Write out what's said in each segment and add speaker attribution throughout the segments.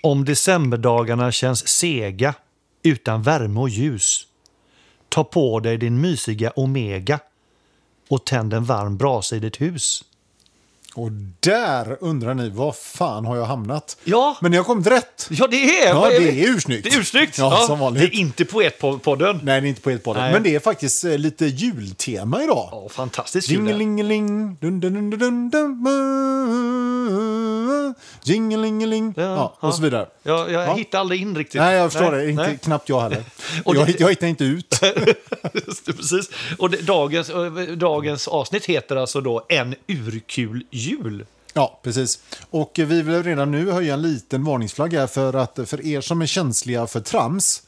Speaker 1: Om decemberdagarna känns sega utan värme och ljus. Ta på dig din mysiga Omega och tänd en varm brasa i ditt hus.
Speaker 2: Och där undrar ni, vad fan har jag hamnat?
Speaker 1: Ja.
Speaker 2: Men ni har kommit rätt.
Speaker 1: Ja, det är...
Speaker 2: Ja, det är ursnyggt.
Speaker 1: Det är ursnyggt.
Speaker 2: Ja, som vanligt.
Speaker 1: Det är inte Poetpodden.
Speaker 2: Nej, det är inte på helt podden.
Speaker 1: Nej.
Speaker 2: Men det är faktiskt eh, lite jultema idag.
Speaker 1: Ja, fantastiskt kul. det.
Speaker 2: Jingelingeling, dun dun dun dun dun dun Jingelingeling,
Speaker 1: Ja,
Speaker 2: ja, och så vidare.
Speaker 1: Jag, jag
Speaker 2: Ja.
Speaker 1: hittar aldrig in riktigt.
Speaker 2: Nej, jag förstår det. Inte,
Speaker 1: nej.
Speaker 2: Knappt jag heller.
Speaker 1: Och
Speaker 2: jag,
Speaker 1: det-
Speaker 2: hitt- jag hittar inte ut.
Speaker 1: Just det, Precis. Och det, dagens, eh, dagens avsnitt heter alltså då En urkul jul.
Speaker 2: Ja, precis. Och eh, vi vill redan nu höja en liten varningsflagga för att eh, för er som är känsliga för trams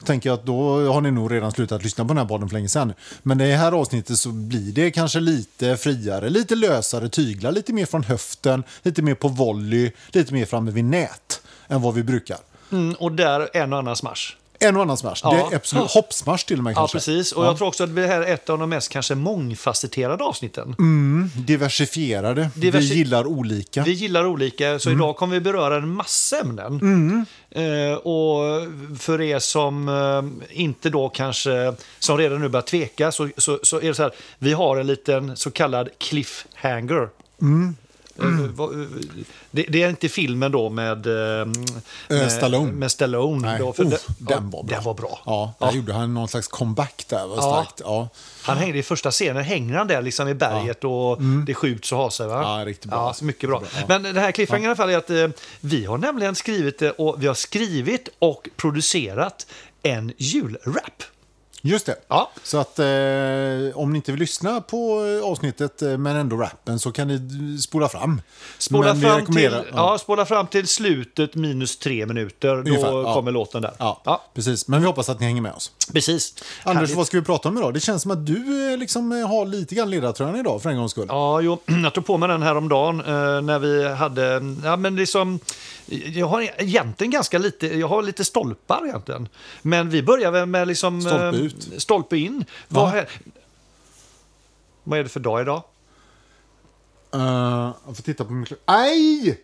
Speaker 2: då tänker jag att då har ni nog redan slutat lyssna på den här podden för länge sedan. Men i det här avsnittet så blir det kanske lite friare, lite lösare tyglar, lite mer från höften, lite mer på volley, lite mer framme vid nät än vad vi brukar.
Speaker 1: Mm, och där en och annan smash.
Speaker 2: En och annan smash.
Speaker 1: Ja.
Speaker 2: Det är absolut hoppsmash till och med
Speaker 1: Ja,
Speaker 2: kanske.
Speaker 1: precis. Och jag tror också att det här är ett av de mest kanske mångfacetterade avsnitten.
Speaker 2: Mm. Diversifierade.
Speaker 1: Diversi-
Speaker 2: Vi gillar olika.
Speaker 1: Vi gillar olika,
Speaker 2: Mm.
Speaker 1: så idag kommer vi beröra en massa ämnen. Eh, och för er som eh, inte då kanske, som redan nu börjar tveka, så, så, så är det så här, vi har en liten så kallad cliffhanger.
Speaker 2: Mm.
Speaker 1: Eh, vad- eh, Det, det är inte filmen då med, eh, med
Speaker 2: Stallone.
Speaker 1: Med Stallone
Speaker 2: Nej.
Speaker 1: då,
Speaker 2: Oh,
Speaker 1: det- ja,
Speaker 2: den var bra.
Speaker 1: Den var bra.
Speaker 2: Ja, där gjorde han någon slags comeback där. Var
Speaker 1: Ja.
Speaker 2: starkt. Ja.
Speaker 1: Han hängde i första scenen, hänger han där liksom i berget och det skjuts och har sig. Va?
Speaker 2: Mm. Ja, riktigt bra.
Speaker 1: Ja, så mycket bra.
Speaker 2: Riktigt bra,
Speaker 1: Men det här cliffhangern i alla fall är att eh, vi har nämligen skrivit eh, och vi har skrivit och producerat en julrap.
Speaker 2: Just det.
Speaker 1: Ja.
Speaker 2: Så att eh, om ni inte vill lyssna på eh, avsnittet eh, men ändå rappen så kan ni d- spola fram.
Speaker 1: Spola,
Speaker 2: men vi
Speaker 1: fram till,
Speaker 2: rekommenderar-
Speaker 1: ja. spola fram till slutet minus tre minuter, då
Speaker 2: Ungefär, ja.
Speaker 1: kommer låten där.
Speaker 2: Ja, precis. Men vi hoppas att ni hänger med oss.
Speaker 1: precis.
Speaker 2: Anders,
Speaker 1: Härligt.
Speaker 2: vad ska vi prata om idag? Det känns som att du eh, liksom eh, har lite grann ledartröjan idag för en gångs skull.
Speaker 1: Ja, jo, jag tog på mig den här om dagen eh, när vi hade... Ja, men liksom, jag har egentligen ganska lite, jag har lite stolpar egentligen. Men vi börjar väl med liksom... eh,
Speaker 2: Stolpe ut.
Speaker 1: Stolpe in. Vad, är, vad är det för dag idag?
Speaker 2: Eh, jag får titta på min klocka. Aj!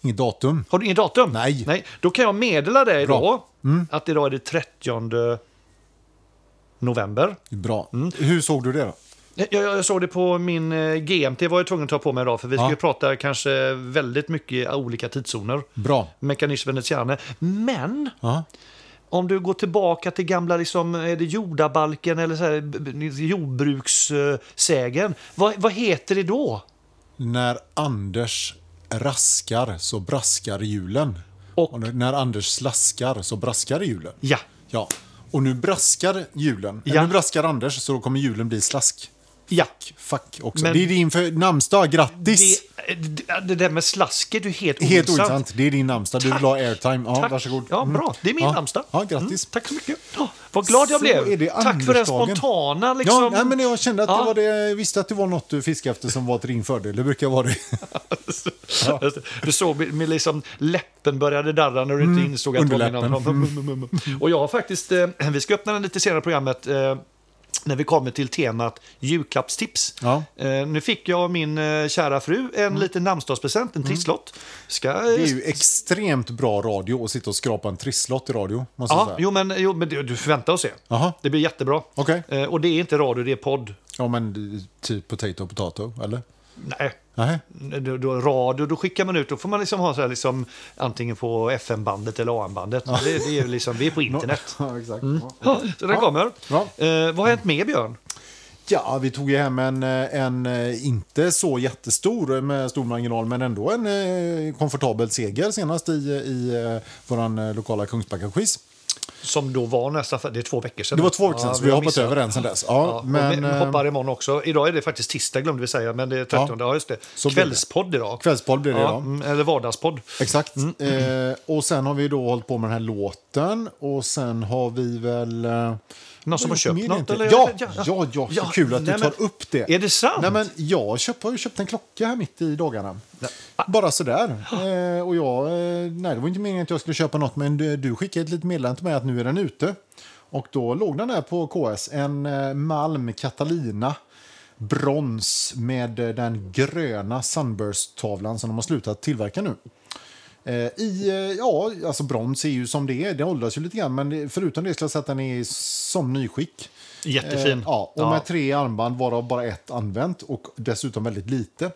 Speaker 2: Inget datum.
Speaker 1: Har du inget datum?
Speaker 2: Nej.
Speaker 1: Nej. Då kan jag meddela dig
Speaker 2: Bra. Mm.
Speaker 1: då att idag är det 30 november.
Speaker 2: Bra.
Speaker 1: Mm.
Speaker 2: Hur såg du det då?
Speaker 1: Jag, jag jag såg det på min eh, GMT, var jag tvungen att ta på mig idag för vi
Speaker 2: Ja. Mm.
Speaker 1: skulle prata kanske väldigt mycket olika tidszoner.
Speaker 2: Bra.
Speaker 1: Mekanism Veneziane. Men
Speaker 2: Ja.
Speaker 1: om du går tillbaka till gamla liksom, är det jordabalken eller så här, b- b- jordbrukssägen. Vad, vad heter det då?
Speaker 2: När Anders raskar så braskar hjulen.
Speaker 1: Och-
Speaker 2: nu- när Anders slaskar så braskar hjulen.
Speaker 1: Ja.
Speaker 2: Ja. Och nu braskar hjulen.
Speaker 1: Ja.
Speaker 2: Ja. Nu braskar Anders så då kommer hjulen bli slask.
Speaker 1: Ja.
Speaker 2: Fuck också.
Speaker 1: Men-
Speaker 2: det är din för- namnsdag, grattis!
Speaker 1: Det, eh, det, det där med slasket, du är helt,
Speaker 2: Helt ointressant. Det är din namnsdag. Du
Speaker 1: Tack.
Speaker 2: vill ha airtime. Ja,
Speaker 1: Tack.
Speaker 2: varsågod.
Speaker 1: Ja,
Speaker 2: Mm.
Speaker 1: bra. Det är min
Speaker 2: ja.
Speaker 1: namnsdag.
Speaker 2: Ja, grattis.
Speaker 1: Mm, tack så mycket. Ja, vad glad jag
Speaker 2: Så är
Speaker 1: blev.
Speaker 2: det
Speaker 1: Tack för den
Speaker 2: Andersdagen.
Speaker 1: spontana... Liksom...
Speaker 2: Ja, nej, men jag kände att
Speaker 1: Ja.
Speaker 2: det var det, jag visste att det var något du fiskade efter som var till din fördel. Det brukar vara det.
Speaker 1: Just det. Du såg med, med liksom läppen började darra när du inte insåg att det var min
Speaker 2: Mm. underläppen. Mm.
Speaker 1: andra. mm, Och jag har faktiskt, eh, vi ska öppna den lite senare i programmet eh, när vi kommer till temat julklappstips.
Speaker 2: Ja. Mm.
Speaker 1: Eh, nu fick jag av min eh, kära fru en liten namnsdagspresent, en trisslott. Ska,
Speaker 2: Det är ju extremt bra radio att sitta och skrapa en trisslott i radio. Måste jag
Speaker 1: ja,
Speaker 2: säga.
Speaker 1: jo, men, jo, men du du får vänta och se.
Speaker 2: Jaha.
Speaker 1: Det blir jättebra.
Speaker 2: Okej.
Speaker 1: Eh, och det är inte radio, det är podd.
Speaker 2: Ja, men typ potato och potato, eller?
Speaker 1: Nej.
Speaker 2: Nej.
Speaker 1: då, då, radio, då skickar man ut, då får man liksom ha så här liksom, antingen på FM-bandet eller AM-bandet. Det, det är ju liksom, vi är på internet. Mm.
Speaker 2: Ja, exakt.
Speaker 1: Ja, så den kommer.
Speaker 2: Ja.
Speaker 1: Eh, vad har hänt med Björn?
Speaker 2: Ja, vi tog ju hem en, eh, en eh, inte så jättestor eh, med stor marginal, men ändå en eh, komfortabel seger senast i, i eh, våran eh, lokala Kungsbacka-quiz.
Speaker 1: Som då var nästan, för, det är två veckor sedan.
Speaker 2: Det var två veckor sedan,
Speaker 1: Ja,
Speaker 2: så vi har hoppat
Speaker 1: missat.
Speaker 2: över den sedan dess. Ja,
Speaker 1: Ja, men,
Speaker 2: men,
Speaker 1: och vi
Speaker 2: eh,
Speaker 1: hoppar imorgon också. Idag är det faktiskt tisdag glömde vi säga, men det är 30. Ja,
Speaker 2: Ja,
Speaker 1: just det.
Speaker 2: så blir det.
Speaker 1: Kvällspodd idag.
Speaker 2: eh, Kvällspodd blir det
Speaker 1: ja,
Speaker 2: idag.
Speaker 1: mm, Eller vardagspodd.
Speaker 2: Exakt. Eh, och sen har vi då hållit på med den här låten och sen har vi väl... eh,
Speaker 1: Någon som har
Speaker 2: gjort
Speaker 1: köpt
Speaker 2: mer
Speaker 1: något,
Speaker 2: egentligen?
Speaker 1: eller?
Speaker 2: Ja,
Speaker 1: Ja, ja.
Speaker 2: ja, ja, ja,
Speaker 1: Ja,
Speaker 2: så kul att
Speaker 1: nej,
Speaker 2: du
Speaker 1: men-
Speaker 2: tar upp det.
Speaker 1: Är det sant?
Speaker 2: Nej, men jag köpt, har ju köpt en klocka här mitt i dagarna. Bara sådär. Eh, och jag, eh, nej, det var inte meningen att jag skulle köpa något, men du, du skickade ett litet meddelande till mig att nu är den ute. Och då låg den där på KS, en eh, Malm Catalina brons med eh, den gröna Sunburst-tavlan som de har slutat tillverka nu. Eh, I, eh, ja, alltså brons är ju som det är, det åldras ju lite grann, men det- förutom det skulle jag säga att den är som nyskick.
Speaker 1: Jättefin.
Speaker 2: Eh, ja, och
Speaker 1: Ja.
Speaker 2: med tre armband varav bara ett använt och dessutom väldigt lite.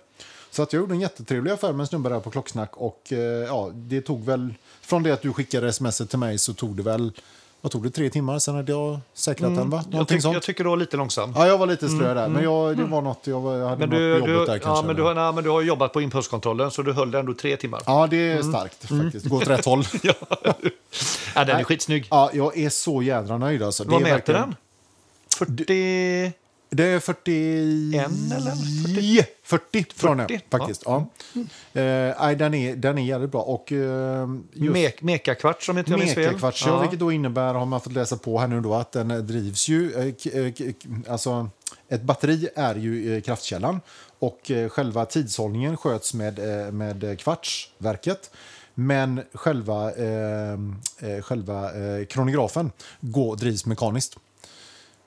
Speaker 2: Så att jag gjorde en jättetrevlig affär med en snubbe där på Klocksnack och eh, ja, det tog väl, från det att du skickade sms till mig så tog det väl, vad tog det, tre timmar? Sen hade jag säkrat den va?
Speaker 1: Mm, Jag,
Speaker 2: Någonting
Speaker 1: tyck,
Speaker 2: sånt.
Speaker 1: jag tycker du var lite långsam.
Speaker 2: Ja, jag var lite slö där, men jag, det var något, jag, var- jag hade
Speaker 1: mm. Men
Speaker 2: något
Speaker 1: du,
Speaker 2: på
Speaker 1: du,
Speaker 2: jobbet där kanske.
Speaker 1: ja, men, du
Speaker 2: eller-
Speaker 1: har, nej, men du har jobbat på impulskontrollen så du höll det ändå tre timmar.
Speaker 2: Ja, det är
Speaker 1: Mm.
Speaker 2: starkt faktiskt. Går åt rätt håll.
Speaker 1: Ja. ja, den är skitsnygg.
Speaker 2: Ja, jag är så jädra nöjd. Alltså.
Speaker 1: Vad
Speaker 2: det är
Speaker 1: mäter
Speaker 2: verkligen-
Speaker 1: den? 40...
Speaker 2: Det är 40...
Speaker 1: En eller
Speaker 2: 40? 40 från den,
Speaker 1: 40,
Speaker 2: faktiskt. Ja. Eh, nej, den, är, den är jävligt bra. Och eh, just
Speaker 1: Mek, mekakvarts om inte jag minns fel.
Speaker 2: mekakvarts, ja.
Speaker 1: Ja.
Speaker 2: vilket då innebär, har man fått läsa på här nu då, att den eh, drivs ju... eh, k- eh, k- Alltså, ett batteri är ju eh, kraftkällan och eh, själva tidshållningen sköts med, eh, med eh, kvartsverket. Men själva, eh, eh, själva eh, kronografen går, drivs mekaniskt.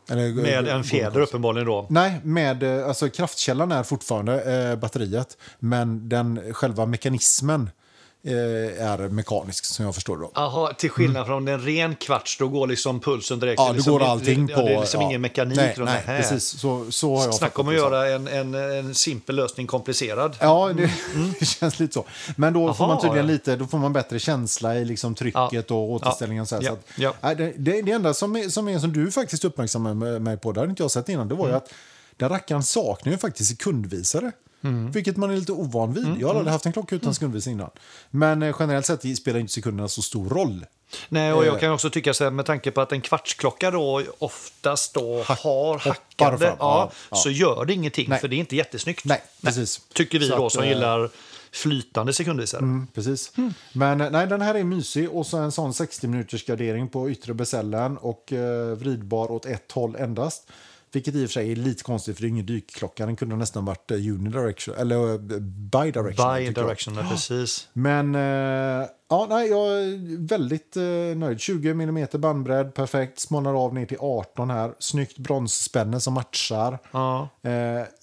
Speaker 2: Eller, eh,
Speaker 1: Med
Speaker 2: går-
Speaker 1: en fjäder uppenbarligen då.
Speaker 2: Nej, med, eh, alltså, kraftkällan är fortfarande eh, batteriet, men den, själva mekanismen eh, är mekanisk som jag förstår det. då.
Speaker 1: Aha, till skillnad från en ren kvarts, då går liksom pulsen direkt.
Speaker 2: Ja,
Speaker 1: Det
Speaker 2: då
Speaker 1: är liksom
Speaker 2: går
Speaker 1: inte-
Speaker 2: allting
Speaker 1: ja,
Speaker 2: på...
Speaker 1: Det är liksom
Speaker 2: ja.
Speaker 1: ingen mekanik.
Speaker 2: Nej,
Speaker 1: runt
Speaker 2: nej
Speaker 1: det här.
Speaker 2: precis. Så, så har jag
Speaker 1: Snacka om
Speaker 2: fattat
Speaker 1: att
Speaker 2: det som.
Speaker 1: göra en, en, en simpel lösning komplicerad.
Speaker 2: Ja, det känns lite så. Men då får
Speaker 1: Mm. Jaha,
Speaker 2: man tydligen
Speaker 1: ja.
Speaker 2: lite, då får man bättre känsla i liksom trycket och återställningen. Och så här,
Speaker 1: Ja.
Speaker 2: så att,
Speaker 1: Ja.
Speaker 2: Nej, det, det, det enda som, är, som, är, som du faktiskt uppmärksammade mig på, det hade inte jag sett innan, det var
Speaker 1: Mm.
Speaker 2: ju att den rackaren saknar ju faktiskt sekundvisare.
Speaker 1: Mm.
Speaker 2: Vilket man är lite ovan vid. Jag har aldrig haft en klocka utan sekundvisare innan. Men eh, generellt sett spelar inte sekunderna så stor roll.
Speaker 1: Nej, och
Speaker 2: Eh.
Speaker 1: jag kan också tycka så här, med tanke på att en kvartsklocka då oftast då har hackande,
Speaker 2: fram,
Speaker 1: ja,
Speaker 2: ja, ja.
Speaker 1: så gör det ingenting
Speaker 2: Nej.
Speaker 1: för det är inte jättesnyggt.
Speaker 2: Nej, precis.
Speaker 1: Tycker vi
Speaker 2: Så
Speaker 1: då
Speaker 2: att,
Speaker 1: som
Speaker 2: eh,
Speaker 1: gillar flytande sekundvisare.
Speaker 2: Mm, precis. Men eh, nej, den här är mysig och så en sån 60 minuters gardering på yttre besällen och eh, vridbar åt ett håll endast. Vilket i och för sig är lite konstigt för det är ingen dykklocka. Den kunde nästan varit eh, unidirectional eller eh, bidirectional.
Speaker 1: By
Speaker 2: tycker jag.
Speaker 1: directional, precis.
Speaker 2: Men eh, ja, nej, jag är väldigt eh, nöjd. 20 mm bandbredd, perfekt. Smalnar av ner till 18 här. Snyggt bronsspänne som matchar.
Speaker 1: Ja.
Speaker 2: Eh,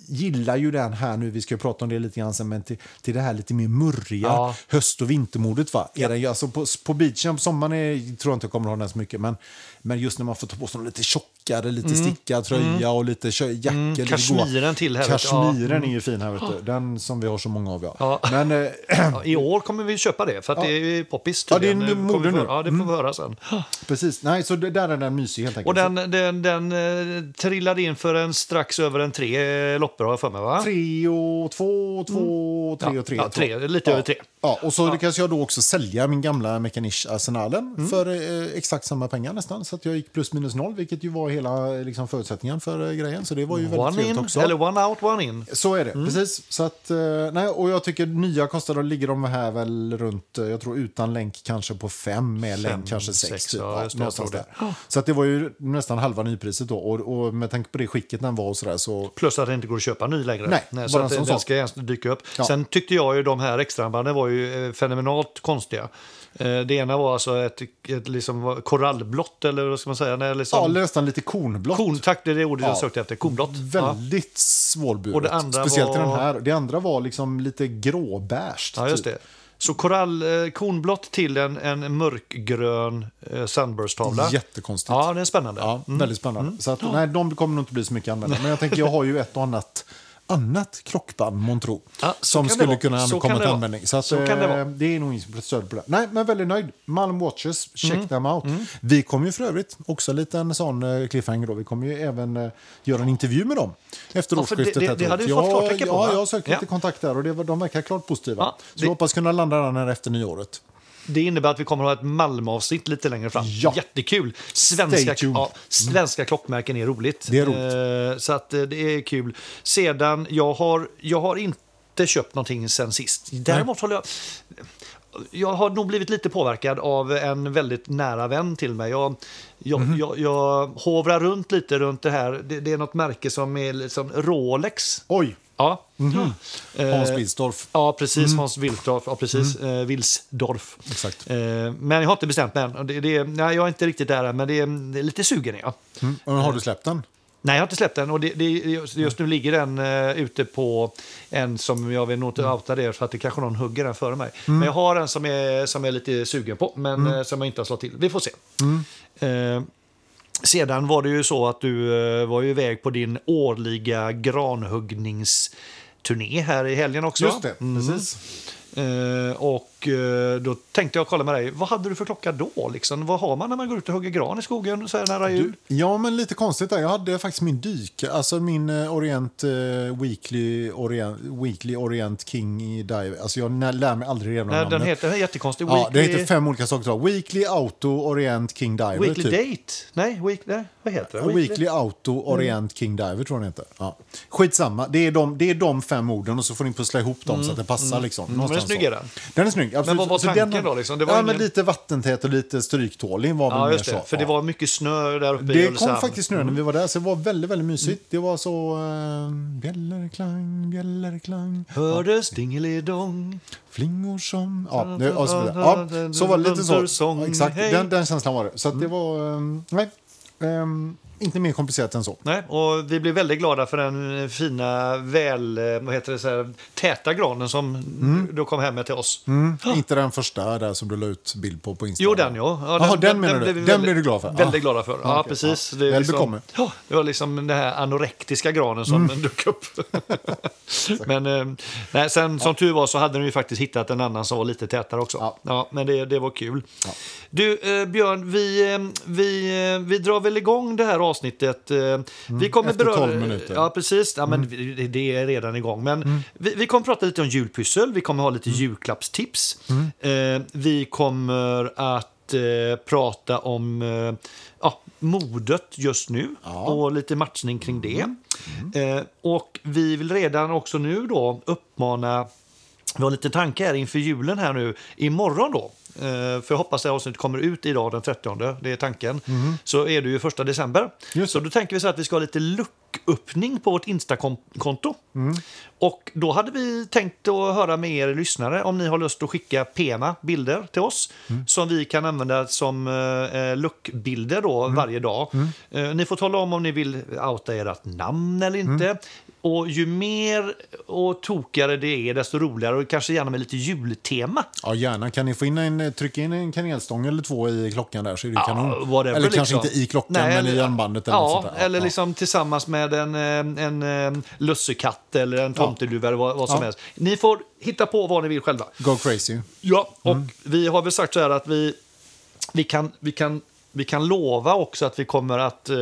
Speaker 2: gillar ju den här nu, vi ska ju prata om det lite grann sen, men till, till det här lite mer murriga
Speaker 1: Ja.
Speaker 2: höst och vintermodet. Va? Är den, ju- alltså på, på beachen, på sommaren är, tror jag inte jag kommer ha den så mycket, men, men just när man får ta på sig en lite tjockare, lite stickad tröja och lite kö- jackor. lite
Speaker 1: Mm. kashmiren till här, vet du. Mm.
Speaker 2: Kashmiren är ju fin här, vet du. den som vi har så många av. Ja.
Speaker 1: Ja.
Speaker 2: Men, eh,
Speaker 1: Ja, I år kommer vi köpa det, för att det är ju poppis.
Speaker 2: Ja, det är
Speaker 1: tydligen.
Speaker 2: nu
Speaker 1: Kommer vi
Speaker 2: mode
Speaker 1: få-
Speaker 2: nu. Mm.
Speaker 1: Ja, det får vi höra sen.
Speaker 2: precis, nej, så det, där är den mysig helt enkelt.
Speaker 1: Och den, den, den eh, trillade in för en strax över en tre eh, loppor har jag för mig, va?
Speaker 2: Tre och två, två, tre och tre.
Speaker 1: Mm. Ja, tre, lite
Speaker 2: ja.
Speaker 1: över tre.
Speaker 2: Ja, och så lyckades jag då också sälja min gamla Mechanish Arsenalen
Speaker 1: Mm.
Speaker 2: för eh, exakt samma pengar nästan. Så att jag gick plus minus noll, vilket ju var hela eh, liksom, förutsättningen för eh, grejen. Så det var ju väldigt
Speaker 1: One
Speaker 2: trevligt
Speaker 1: in,
Speaker 2: också.
Speaker 1: eller one out, one in.
Speaker 2: Så är det,
Speaker 1: Mm.
Speaker 2: precis. Så att, eh, nej, och jag tycker nya kostar, då ligger de här väl runt, eh, jag tror utan länk kanske på fem, med länk kanske sex.
Speaker 1: sex,
Speaker 2: typ,
Speaker 1: ja,
Speaker 2: ja,
Speaker 1: just det, jag
Speaker 2: någonstans
Speaker 1: tror
Speaker 2: där. Så att det var ju nästan halva nypriset då. Och, och med tanke på det skicket den var och sådär så
Speaker 1: Plus att det inte går att köpa ny längre.
Speaker 2: Nej,
Speaker 1: så
Speaker 2: bara
Speaker 1: att den
Speaker 2: en sån
Speaker 1: den
Speaker 2: sak.
Speaker 1: ska ens dyka upp.
Speaker 2: Ja.
Speaker 1: Sen tyckte jag ju de här extrabanden var ju eh, fenomenalt konstiga. Eh, Det ena var alltså ett, ett liksom vad- korallblått, eller vad ska man säga? Nej,
Speaker 2: Ja,
Speaker 1: liksom,
Speaker 2: nästan lite kornblått.
Speaker 1: korn, tack, det är det ordet jag
Speaker 2: Ja.
Speaker 1: sökte efter. Kornblått. Ja.
Speaker 2: Väldigt svårburet.
Speaker 1: Och det andra
Speaker 2: Speciellt i den
Speaker 1: var-
Speaker 2: här. Det andra var liksom lite gråbärst.
Speaker 1: Ja, just
Speaker 2: typ.
Speaker 1: det. Så korall, eh, kornblått till en, en mörkgrön eh, Sunburst-tavla.
Speaker 2: Jättekonstigt. Ja.
Speaker 1: Ja, det är spännande.
Speaker 2: Väldigt spännande.
Speaker 1: Mm.
Speaker 2: Så att, nej, de kommer nog inte bli så mycket använda. Men jag tänker, jag har ju ett och annat annat klockband, måntro,
Speaker 1: Ja, så kan
Speaker 2: som
Speaker 1: det
Speaker 2: skulle
Speaker 1: vara.
Speaker 2: kunna
Speaker 1: Så
Speaker 2: komma
Speaker 1: kan det
Speaker 2: till
Speaker 1: vara.
Speaker 2: användning. Så, att,
Speaker 1: Så kan det
Speaker 2: eh,
Speaker 1: vara.
Speaker 2: det är nog inget stöd på det. Nej, men väldigt nöjd. Malm Watches, check
Speaker 1: Mm.
Speaker 2: them out. Vi kommer ju för övrigt också en liten sån eh, cliffhanger då. Vi kommer ju även eh, göra en intervju med dem efter
Speaker 1: Ja, för det-
Speaker 2: årsskiftet.
Speaker 1: det-
Speaker 2: här, tror
Speaker 1: det
Speaker 2: jag.
Speaker 1: hade vi
Speaker 2: Jag-
Speaker 1: fått klartecken på,
Speaker 2: Ja,
Speaker 1: va?
Speaker 2: jag har sökt
Speaker 1: Ja.
Speaker 2: lite kontakt där och det, var- de verkar klart positiva.
Speaker 1: Ja,
Speaker 2: så
Speaker 1: det-
Speaker 2: vi hoppas kunna landa den här efter nyåret.
Speaker 1: Det innebär att vi kommer att ha ett Malmö-avsnitt lite längre fram.
Speaker 2: Ja.
Speaker 1: Jättekul!
Speaker 2: Stay
Speaker 1: Svenska,
Speaker 2: tuned.
Speaker 1: ja, svenska klockmärken är roligt.
Speaker 2: Det är
Speaker 1: Eh, så att, eh, det är kul. Sedan, jag har, jag har inte köpt någonting sen sist. Däremot håller jag... Jag har nog blivit lite påverkad av en väldigt nära vän till mig. Jag, jag,
Speaker 2: Mhm.
Speaker 1: jag, jag hovrar runt lite runt det här. Det, det är något märke som är liksom Rolex.
Speaker 2: Oj!
Speaker 1: Ja.
Speaker 2: Mhm. Hans Mhm.
Speaker 1: Eh,
Speaker 2: Wilsdorf.
Speaker 1: Ja, precis. Hans Wilsdorf. Ja, precis. Eh, Wilsdorf.
Speaker 2: Exakt.
Speaker 1: Eh, men jag har inte bestämt mig än. Och Det, det, nej, jag är inte riktigt där än, men det, det är lite sugen är jag.
Speaker 2: Mm. Och har du släppt den?
Speaker 1: Nej, jag har inte släppt den. Och det, det, just just nu ligger den uh, ute på en som jag vill nog
Speaker 2: Mm.
Speaker 1: inte outa det för att det kanske någon hugger den före mig. Men jag har en som jag som jag är lite sugen på, men
Speaker 2: Mm.
Speaker 1: eh, som jag inte har slått till. Vi får se. Eh, sedan var det ju så att du eh, var ju iväg på din årliga granhuggningsturné här i helgen också. Mm.
Speaker 2: Just det, precis.
Speaker 1: Eh, och eh, då tänkte jag kolla med dig, vad hade du för klocka då? Liksom? Vad har man när man går ut och hugger gran i skogen så här nära jul?
Speaker 2: Ja, men lite konstigt där. Jag hade faktiskt min dyk, alltså min eh, Orient eh, Weekly Orient, Weekly Orient King i Dive. Alltså jag nä- lär mig aldrig redan
Speaker 1: Nej,
Speaker 2: namnet.
Speaker 1: den heter den är jättekonstig.
Speaker 2: Ja, det heter fem olika saker. tror jag. Weekly Auto Orient King Diver.
Speaker 1: Weekly Mm.
Speaker 2: typ.
Speaker 1: Date? Nej, week, nej, vad heter den?
Speaker 2: Weekly. Auto Orient King Diver tror jag den heter. Ja. Skitsamma, det är, de, det är de fem orden och så får ni pussla ihop dem så att det passar. Liksom, någonstans
Speaker 1: snygg
Speaker 2: så.
Speaker 1: är Mm, den.
Speaker 2: Den är snygg, absolut.
Speaker 1: vad var
Speaker 2: Så den
Speaker 1: tanken
Speaker 2: har-
Speaker 1: då, liksom? Det var
Speaker 2: ja,
Speaker 1: ingen-
Speaker 2: men lite vattentät och lite stryktålig var väl
Speaker 1: Ja,
Speaker 2: mer
Speaker 1: just
Speaker 2: så.
Speaker 1: det. För
Speaker 2: ja.
Speaker 1: det var mycket snö där uppe i
Speaker 2: Det kom
Speaker 1: Ulricehamn.
Speaker 2: faktiskt nu
Speaker 1: Mm.
Speaker 2: när vi var där, så det var väldigt, väldigt mysigt. Det var så... Eh, bjällerklang, bjällerklang,
Speaker 1: Hördes dingelidong.
Speaker 2: flingor som... Ja, det, och så vidare. Ja, så var det lite så. Ja, Exakt, den, den känslan var det. Så att
Speaker 1: Mm.
Speaker 2: det var... Eh, nej, eh, inte mer komplicerat än så.
Speaker 1: Nej, och vi blev väldigt glada för den eh, fina, väl, eh, vad heter det, så här, täta granen som du- du kom hem med till oss.
Speaker 2: Mm. Inte den första där som du la ut bild på på Instagram.
Speaker 1: Jo, den ja. ja
Speaker 2: Jaha, den, menar du?
Speaker 1: blev vi
Speaker 2: Den
Speaker 1: väldigt-
Speaker 2: blev du glad för?
Speaker 1: Väldigt
Speaker 2: Ja.
Speaker 1: glada för. Ja,
Speaker 2: okej.
Speaker 1: precis.
Speaker 2: Ja.
Speaker 1: är liksom-
Speaker 2: Väl bekomme.
Speaker 1: ja, det var liksom den här anorektiska granen
Speaker 2: Mm.
Speaker 1: som dök upp. men eh, nej, sen, som tur var så hade de ju faktiskt hittat en annan som var lite tätare också. Ja.
Speaker 2: Ja.
Speaker 1: men det, det var kul. Du, eh, Björn, vi, eh, vi, eh, vi drar väl igång det här avsnittet. Eh, vi kommer
Speaker 2: Mm. efter
Speaker 1: beröra-
Speaker 2: 12 minuter.
Speaker 1: Ja, precis. Ja, men vi- det- Det är redan igång. Men vi, vi kommer prata lite om julpyssel, vi kommer ha lite julklappstips. Eh, vi kommer att eh, prata om eh, ja, modet just nu
Speaker 2: Ja.
Speaker 1: och lite matchning kring det. Eh, och vi vill redan också nu då uppmana vi har lite tanke här inför julen här nu imorgon då. eh, För jag hoppas att avsnittet kommer ut idag den 30, det är tanken. Så är det ju första december.
Speaker 2: Just
Speaker 1: Så då tänker vi så här att vi ska ha lite lucköppning på vårt Insta-konto. Och då hade vi tänkt att höra med er lyssnare om ni har lust att skicka PMA, bilder till oss. Som vi kan använda som eh, luckbilder då varje dag. Eh, ni får tala om om ni vill outa ert namn eller inte. Och ju mer och tokigare det är, desto roligare. Och kanske gärna med lite jultema.
Speaker 2: Ja, gärna. Kan ni få in en, trycka in en kanelstång eller två i klockan där så är det kanon.
Speaker 1: whatever,
Speaker 2: eller kanske
Speaker 1: liksom.
Speaker 2: inte i klockan,
Speaker 1: Nej,
Speaker 2: men i armbandet. Eller något
Speaker 1: Ja,
Speaker 2: sånt där.
Speaker 1: eller liksom tillsammans med en, eh, en, eh, lussekatt eller en tomteluva eller vad, vad som
Speaker 2: Ja.
Speaker 1: helst. Ni får hitta på vad ni vill själva.
Speaker 2: Go crazy.
Speaker 1: Ja, och
Speaker 2: Mm.
Speaker 1: vi har väl sagt så här att vi, vi, kan, vi, kan, vi kan lova också att vi kommer att eh,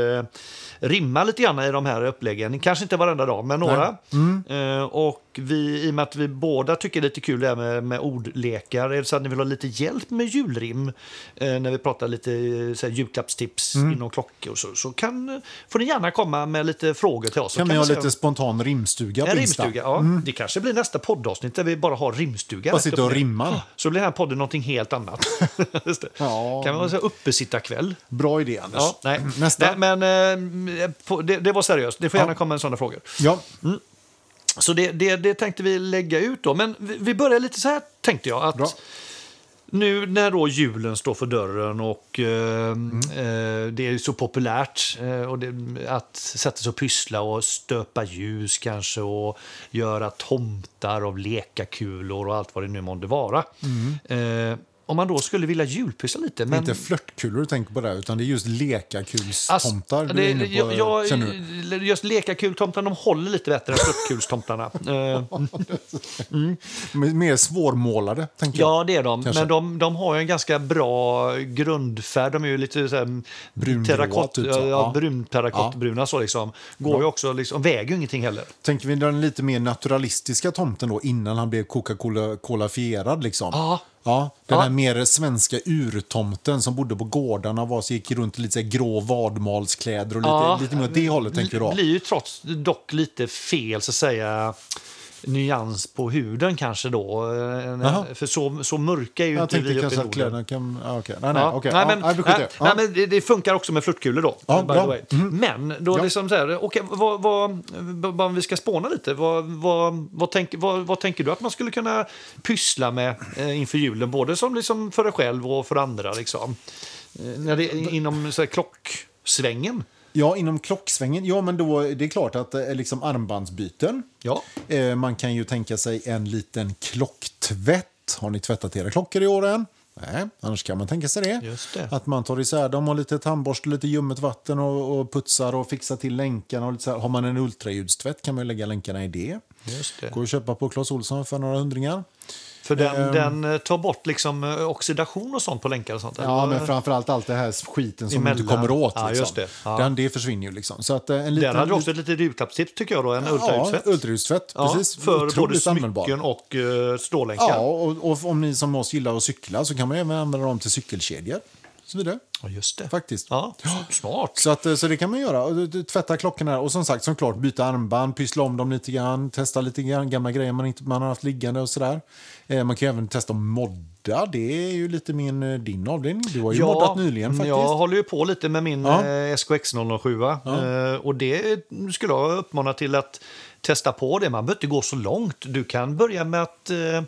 Speaker 1: rimma lite grann i de här uppläggen. Kanske inte varenda dag, men några.
Speaker 2: Mm.
Speaker 1: Eh, och vi, i och med att vi båda tycker det är lite kul det här med, med ordlekar, är det så att ni vill ha lite hjälp med julrim eh, när vi pratar lite eh, så här, julklappstips
Speaker 2: Mm.
Speaker 1: inom klockor så, så kan, får ni gärna komma med lite frågor till oss. Så
Speaker 2: Kan vi ha
Speaker 1: se-
Speaker 2: lite spontan rimstuga på
Speaker 1: en
Speaker 2: Insta?
Speaker 1: rimstuga, ja. Det kanske blir nästa poddavsnitt där vi bara har rimstuga.
Speaker 2: Bara
Speaker 1: rätt
Speaker 2: sitta
Speaker 1: upp
Speaker 2: Mm. och
Speaker 1: ner.
Speaker 2: rimma.
Speaker 1: Så blir den här podden någonting helt annat. Just det.
Speaker 2: Ja.
Speaker 1: Kan man säga uppesittarkväll?
Speaker 2: Bra idé, Anders. Mm,
Speaker 1: Ja, nej.
Speaker 2: Nästa.
Speaker 1: Nej, men eh, på- det, det var seriöst. Det får gärna
Speaker 2: Ja.
Speaker 1: komma sådana frågor.
Speaker 2: Ja.
Speaker 1: Så det, det, det tänkte vi lägga ut då. Men vi, vi börjar lite så här tänkte jag. Att
Speaker 2: Bra.
Speaker 1: Nu när då julen står för dörren och eh, eh, det är ju så populärt eh, och det, att sätta sig och pyssla och stöpa ljus kanske och göra tomtar av lekakulor och allt vad det nu månde vara. Eh, om man då skulle vilja julpyssla lite. Men,
Speaker 2: Inte flörtkulor du tänker på där, utan det är just
Speaker 1: Alltså,
Speaker 2: lekakulstomtar du
Speaker 1: det-
Speaker 2: är inne på,
Speaker 1: jag, jag,
Speaker 2: känner du.
Speaker 1: Just lekakultomtarna de håller lite bättre än flörtkulstomtarna. Eh,
Speaker 2: Men Mer svårmålade, tänker jag.
Speaker 1: Ja, det är de.
Speaker 2: Kanske.
Speaker 1: Men de, de har ju en ganska bra grundfärg. De är ju lite så här,
Speaker 2: Brungrå,
Speaker 1: terrakott,
Speaker 2: typ så.
Speaker 1: ja,
Speaker 2: Ja.
Speaker 1: brun terrakottbruna så liksom. Går ju också liksom, väger ju ingenting heller.
Speaker 2: Tänker vi den lite mer naturalistiska tomten då, innan han blev Coca-Cola-fierad liksom?
Speaker 1: Ja.
Speaker 2: Ja, den
Speaker 1: Ja.
Speaker 2: här mer svenska urtomten som bodde på gårdarna var, så gick runt i lite så här grå vadmalskläder och lite,
Speaker 1: Ja,
Speaker 2: lite mer åt det hållet, tänker du
Speaker 1: Det
Speaker 2: då?
Speaker 1: blir ju trots dock lite fel så att säga nyans på huden kanske då. Eh,
Speaker 2: Jaha.
Speaker 1: För så, så mörka är ju
Speaker 2: Jag
Speaker 1: inte
Speaker 2: tänkte
Speaker 1: vi uppe i
Speaker 2: kanske att
Speaker 1: Norden.
Speaker 2: kläderna kan... Ja, okej. Nej, nej,
Speaker 1: Ja.
Speaker 2: okej.
Speaker 1: Nej,
Speaker 2: Ja,
Speaker 1: men,
Speaker 2: nej, vi skjuter
Speaker 1: nej,
Speaker 2: det. Ja.
Speaker 1: nej, men det, det funkar också med flörtkulor då.
Speaker 2: Ja,
Speaker 1: by
Speaker 2: bra.
Speaker 1: the way. Men då
Speaker 2: Ja.
Speaker 1: liksom så här, okay, vad, vad, vad, om vi ska spåna lite, vad, vad, vad, tänk, vad, vad tänker du att man skulle kunna pyssla med eh, inför julen? Både som liksom för dig själv och för andra. Liksom. Eh, när det, inom så här, klocksvängen.
Speaker 2: Ja, inom klocksvängen. Ja, men då det är klart att eh, liksom armbandsbyten.
Speaker 1: Ja.
Speaker 2: Eh, man kan ju tänka sig en liten klocktvätt. Har ni tvättat era klockor i år än? Nej, annars kan man tänka sig det.
Speaker 1: Just det.
Speaker 2: Att man tar isär dem och lite tandborste, lite ljummet vatten och, och putsar och fixar till länkarna. Och lite så här. Har man en ultraljudstvätt kan man ju lägga länkarna i det.
Speaker 1: Just det.
Speaker 2: Går att köpa på Clas Olsson för några hundringar.
Speaker 1: För den,
Speaker 2: ehm.
Speaker 1: den eh, tar bort liksom eh, oxidation och sånt på länkar och sånt?
Speaker 2: Ja,
Speaker 1: eller?
Speaker 2: men framförallt allt det här skiten som du
Speaker 1: Emellan.
Speaker 2: inte kommer åt.
Speaker 1: Ja,
Speaker 2: Liksom.
Speaker 1: just det. Ja.
Speaker 2: Den, det försvinner ju liksom. Så att eh, en liten,
Speaker 1: Där hade du också ett litet julklappstips tycker jag då, en ultraljudstvätt.
Speaker 2: Ja, ultraljudstvätt.
Speaker 1: Ja,
Speaker 2: precis.
Speaker 1: för både
Speaker 2: Otroligt användbar.
Speaker 1: smycken och uh, stålänkar.
Speaker 2: Ja, och, och om ni som oss gillar att cykla så kan man även använda dem till cykelkedjor. Så vidare.
Speaker 1: Ja, just det.
Speaker 2: Faktiskt.
Speaker 1: Ja, smart.
Speaker 2: Så, att, eh, så det kan man göra. Och du- du Tvätta klockorna och som sagt såklart byta armband, pyssla om dem lite grann, testa lite grann gamla grejer man, inte, man har haft liggande och sådär. Eh, man kan ju även testa att modda. Det är ju lite min, eh, din avdelning. Du har ju moddat nyligen faktiskt.
Speaker 1: Jag håller ju på lite med min
Speaker 2: Ja.
Speaker 1: eh, SKX 007. Eh, och det skulle jag uppmana till att testa på det. Man behöver inte gå så långt. Du kan börja med att eh,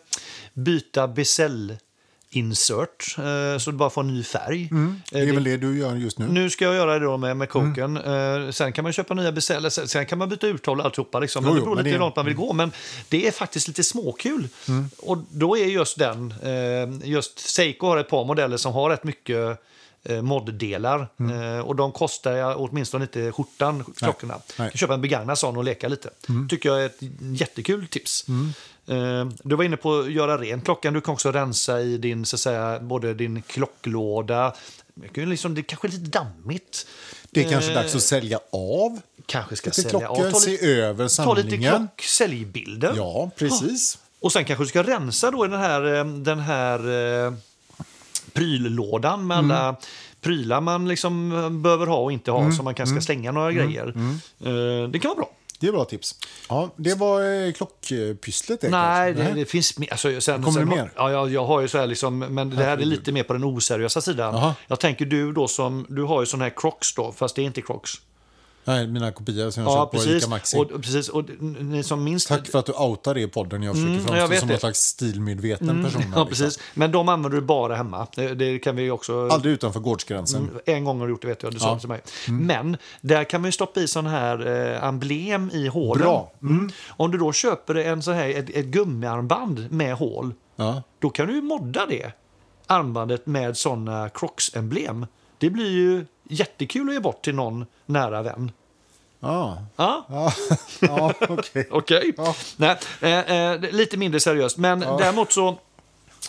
Speaker 1: byta bezel insert eh, så du bara får en ny färg.
Speaker 2: Det är väl det du gör just nu.
Speaker 1: Eh, Nu ska jag göra det då med, med
Speaker 2: Mm.
Speaker 1: koken. Eh, sen kan man köpa nya beställare, sen, sen kan man byta urtavla och alltihopa. Liksom. Men
Speaker 2: Jo,
Speaker 1: det
Speaker 2: jo,
Speaker 1: beror
Speaker 2: men
Speaker 1: lite
Speaker 2: det-
Speaker 1: hur långt man vill gå. Men det är faktiskt lite småkul. Och då är just den, eh, just Seiko har ett par modeller som har rätt mycket eh, moddelar. Eh, och de kostar jag åtminstone inte skjortan, klockorna.
Speaker 2: Mm. Nej. Mm.
Speaker 1: Du kan köpa en begagnad sån och leka lite. tycker jag är ett jättekul tips. Eh, Du var inne på att göra rent klockan. Du kan också rensa i din, så att säga, både din klocklåda. Det kan ju Liksom, det är kanske är lite dammigt.
Speaker 2: Det är kanske
Speaker 1: Eh,
Speaker 2: dags att sälja av.
Speaker 1: Kanske ska
Speaker 2: Lite
Speaker 1: sälja. Ja,
Speaker 2: klockor,
Speaker 1: ta
Speaker 2: se
Speaker 1: lite-
Speaker 2: över
Speaker 1: Ta lite
Speaker 2: samlingen.
Speaker 1: klock, säljbilder.
Speaker 2: Ja, precis.
Speaker 1: Och sen kanske du ska rensa då i den här, eh, den här eh, pryllådan med alla
Speaker 2: Mm.
Speaker 1: prylar man liksom eh, behöver ha och inte ha så man
Speaker 2: Mm.
Speaker 1: kanske ska slänga några grejer. Eh, Det kan vara bra.
Speaker 2: Det är bra tips. Ja, det var eh, klockpysslet. helt
Speaker 1: Nej,
Speaker 2: enkelt.
Speaker 1: det, det finns mer. Alltså, sen,
Speaker 2: Kommer
Speaker 1: sen,
Speaker 2: det mer?
Speaker 1: Ja, jag, jag har ju så här liksom, men det här är lite mer på den oseriösa sidan.
Speaker 2: Jaha.
Speaker 1: Jag tänker du då som, du har ju sån här Crocs då, fast det är inte Crocs.
Speaker 2: Nej, mina kopior som jag
Speaker 1: Ja,
Speaker 2: köpt på
Speaker 1: precis.
Speaker 2: Ica Maxi.
Speaker 1: Och, precis. Och ni som minns...
Speaker 2: Tack för att du outar det i podden. Jag försöker
Speaker 1: Mm, jag
Speaker 2: framstå
Speaker 1: vet
Speaker 2: som
Speaker 1: det. Mm,
Speaker 2: en slags stilmedveten person. här,
Speaker 1: Ja,
Speaker 2: liksom.
Speaker 1: precis. Men de använder du bara hemma. Det- Det kan vi ju också...
Speaker 2: Aldrig utanför gårdsgränsen.
Speaker 1: En gång har du gjort det vet jag, du sa
Speaker 2: Ja. Mm.
Speaker 1: det till mig. Men där kan man ju stoppa i sån här eh, emblem i hålen. Mm.
Speaker 2: Bra. Mm.
Speaker 1: Om du då köper en sån här, ett, ett gummiarmband med hål,
Speaker 2: Ja.
Speaker 1: då kan du ju modda det armbandet med såna Crocs-emblem. Det blir ju jättekul att ge bort till någon nära vän.
Speaker 2: Ja,
Speaker 1: Ja,
Speaker 2: ja. ja okej.
Speaker 1: okej.
Speaker 2: Ja.
Speaker 1: Nej, eh, eh, lite mindre seriöst, men däremot så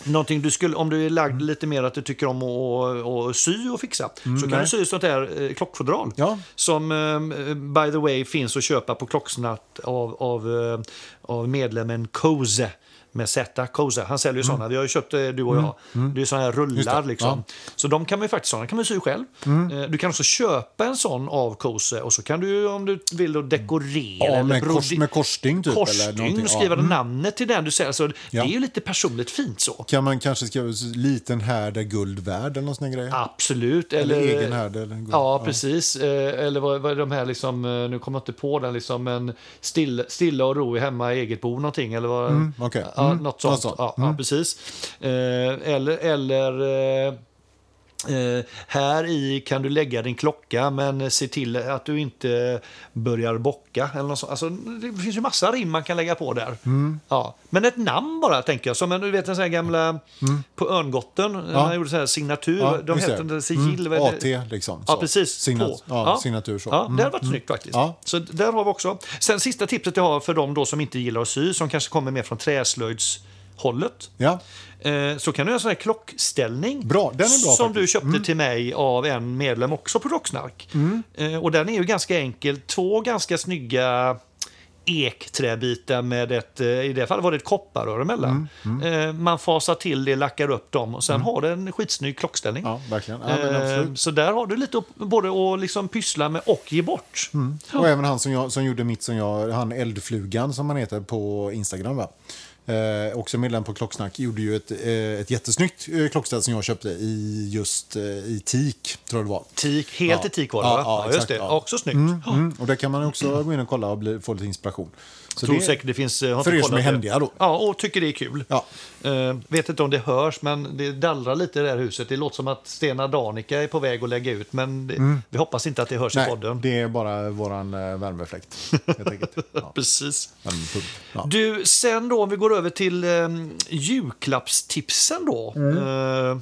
Speaker 1: Någonting du skulle, om du är lagd lite mer att du tycker om att att- att sy och fixa, så kan
Speaker 2: Mm, nej.
Speaker 1: du sy sånt där eh, klockfodral.
Speaker 2: Ja.
Speaker 1: Som eh, by the way finns att köpa på Klocksnatt av, av, eh, av medlemmen Kose. Med Z, Kose. Han säljer ju
Speaker 2: Mm.
Speaker 1: såna. Vi har ju köpt eh, du och jag. Det är sådana här rullar.
Speaker 2: det, Mm.
Speaker 1: Liksom. Så de kan man ju faktiskt såna kan man sy själv. Eh, Du kan också köpa en sån av Kose och så kan du ju, om du vill då dekorera
Speaker 2: Ja,
Speaker 1: eller
Speaker 2: med, kors,
Speaker 1: brode-
Speaker 2: med korsstygn typ. eller någonting.
Speaker 1: korsstygn,
Speaker 2: Ja. Mm.
Speaker 1: skriva namnet till den du säljer. Så Det
Speaker 2: Ja.
Speaker 1: är ju lite personligt fint så.
Speaker 2: Kan man kanske skriva liten härd är guld värd eller någon sån här grej?
Speaker 1: Absolut. Eller,
Speaker 2: Eller egen härd eller guld.
Speaker 1: Ja, precis. Eh, Eller vad, vad är de här, liksom, eh, nu kommer jag inte på den, liksom, men still, stilla och ro i hemma i eget bo någonting. Eller vad,
Speaker 2: okej.
Speaker 1: ja,
Speaker 2: Mm,
Speaker 1: Något sånt.
Speaker 2: något sånt.
Speaker 1: Ja, ja, precis. Eh, Eller, eller eh, Eh, här i kan du lägga din klocka, men se till att du inte börjar bocka. Eller något sånt. Alltså, det finns ju massa rim man kan lägga på där.
Speaker 2: Mm.
Speaker 1: Ja. Men ett namn bara, tänker jag. Som en, du vet, en sån här gamla... På Örngotten, när han gjorde så här signatur.
Speaker 2: Mm. Ja,
Speaker 1: de
Speaker 2: just
Speaker 1: hette
Speaker 2: det. Mm.
Speaker 1: inte sigill. vad heter-
Speaker 2: AT liksom.
Speaker 1: Ja,
Speaker 2: så.
Speaker 1: precis.
Speaker 2: Signat,
Speaker 1: På.
Speaker 2: ja, Signatur så. Mm.
Speaker 1: Ja, det hade varit snyggt faktiskt.
Speaker 2: Ja.
Speaker 1: Så där har vi också. Sen sista tipset jag har för de då som inte gillar att sy, som kanske kommer mer från träslöjdshållet.
Speaker 2: Ja.
Speaker 1: Eh, så kan du göra en sån här klockställning.
Speaker 2: Bra, den är bra
Speaker 1: Som
Speaker 2: faktiskt. Mm.
Speaker 1: du köpte till mig av en medlem också på Rocksnark. Eh, och den är ju ganska enkel. Två ganska snygga ekträbitar med ett, eh, i det fallet var det ett kopparrör emellan.
Speaker 2: Mm,
Speaker 1: Eh, man fasar till det, lackar upp dem och sen har du en skitsnygg klockställning.
Speaker 2: ja, verkligen. Ja, men absolut.
Speaker 1: Eh, Så där har du lite upp- både att liksom pyssla med och ge bort.
Speaker 2: Mm. Och även han som, jag, som gjorde mitt som jag, han Eldflugan som han heter på Instagram va? eh, också medlem på Klocksnack, gjorde ju ett, eh, ett jättesnyggt eh, klockställ som jag köpte i just eh, i teak, tror jag det var.
Speaker 1: Teak, helt
Speaker 2: Ja.
Speaker 1: i teak var det,
Speaker 2: Ja,
Speaker 1: va?
Speaker 2: ja,
Speaker 1: Ja, just
Speaker 2: exakt,
Speaker 1: det.
Speaker 2: ja.
Speaker 1: Också snyggt.
Speaker 2: Mm, och där kan man också gå in och kolla och bli, få lite inspiration. Så
Speaker 1: Tror
Speaker 2: det-
Speaker 1: säkert det finns... eh, har
Speaker 2: för
Speaker 1: inte
Speaker 2: er som
Speaker 1: kollat
Speaker 2: är
Speaker 1: det.
Speaker 2: händiga då.
Speaker 1: Ja, och tycker det är kul.
Speaker 2: Ja.
Speaker 1: Eh, vet inte om det hörs, men det dallrar lite i det här huset. Det låter som att Stena Danica är på väg att lägga ut, men det, vi hoppas inte att det hörs i
Speaker 2: Mm. Nej,
Speaker 1: podden.
Speaker 2: det är bara våran eh, värmefläkt. Helt enkelt. Ja,
Speaker 1: Precis.
Speaker 2: värmepump. ja.
Speaker 1: Du, sen då om vi går över till eh, julklappstipsen då.
Speaker 2: Mm.
Speaker 1: Eh,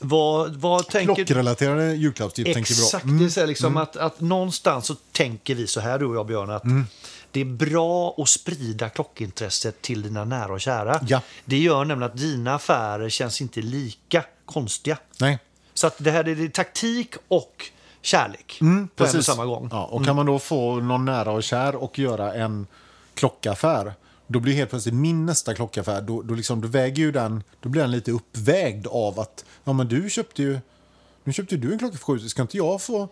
Speaker 1: vad, vad tänker
Speaker 2: Klockrelaterade julklappstips tänker vi Mm.
Speaker 1: Exakt,
Speaker 2: bra.
Speaker 1: det är så här liksom att, att någonstans så tänker vi så här du och jag Björn att
Speaker 2: Mm.
Speaker 1: det är bra att sprida klockintresset till dina nära och kära.
Speaker 2: Ja.
Speaker 1: Det gör nämligen att dina affärer känns inte lika konstiga.
Speaker 2: Nej,
Speaker 1: Så att det här är det taktik och kärlek på en och samma gång.
Speaker 2: Mm,
Speaker 1: Mm.
Speaker 2: Ja, och kan man då få någon nära och kär och göra en klockaffär, då blir helt plötsligt min nästa klockaffär, då, då, liksom, då väger ju den, då blir den lite uppvägd av att ja, men du köpte ju, nu köpte ju du en klocka för 7000, ska inte jag få...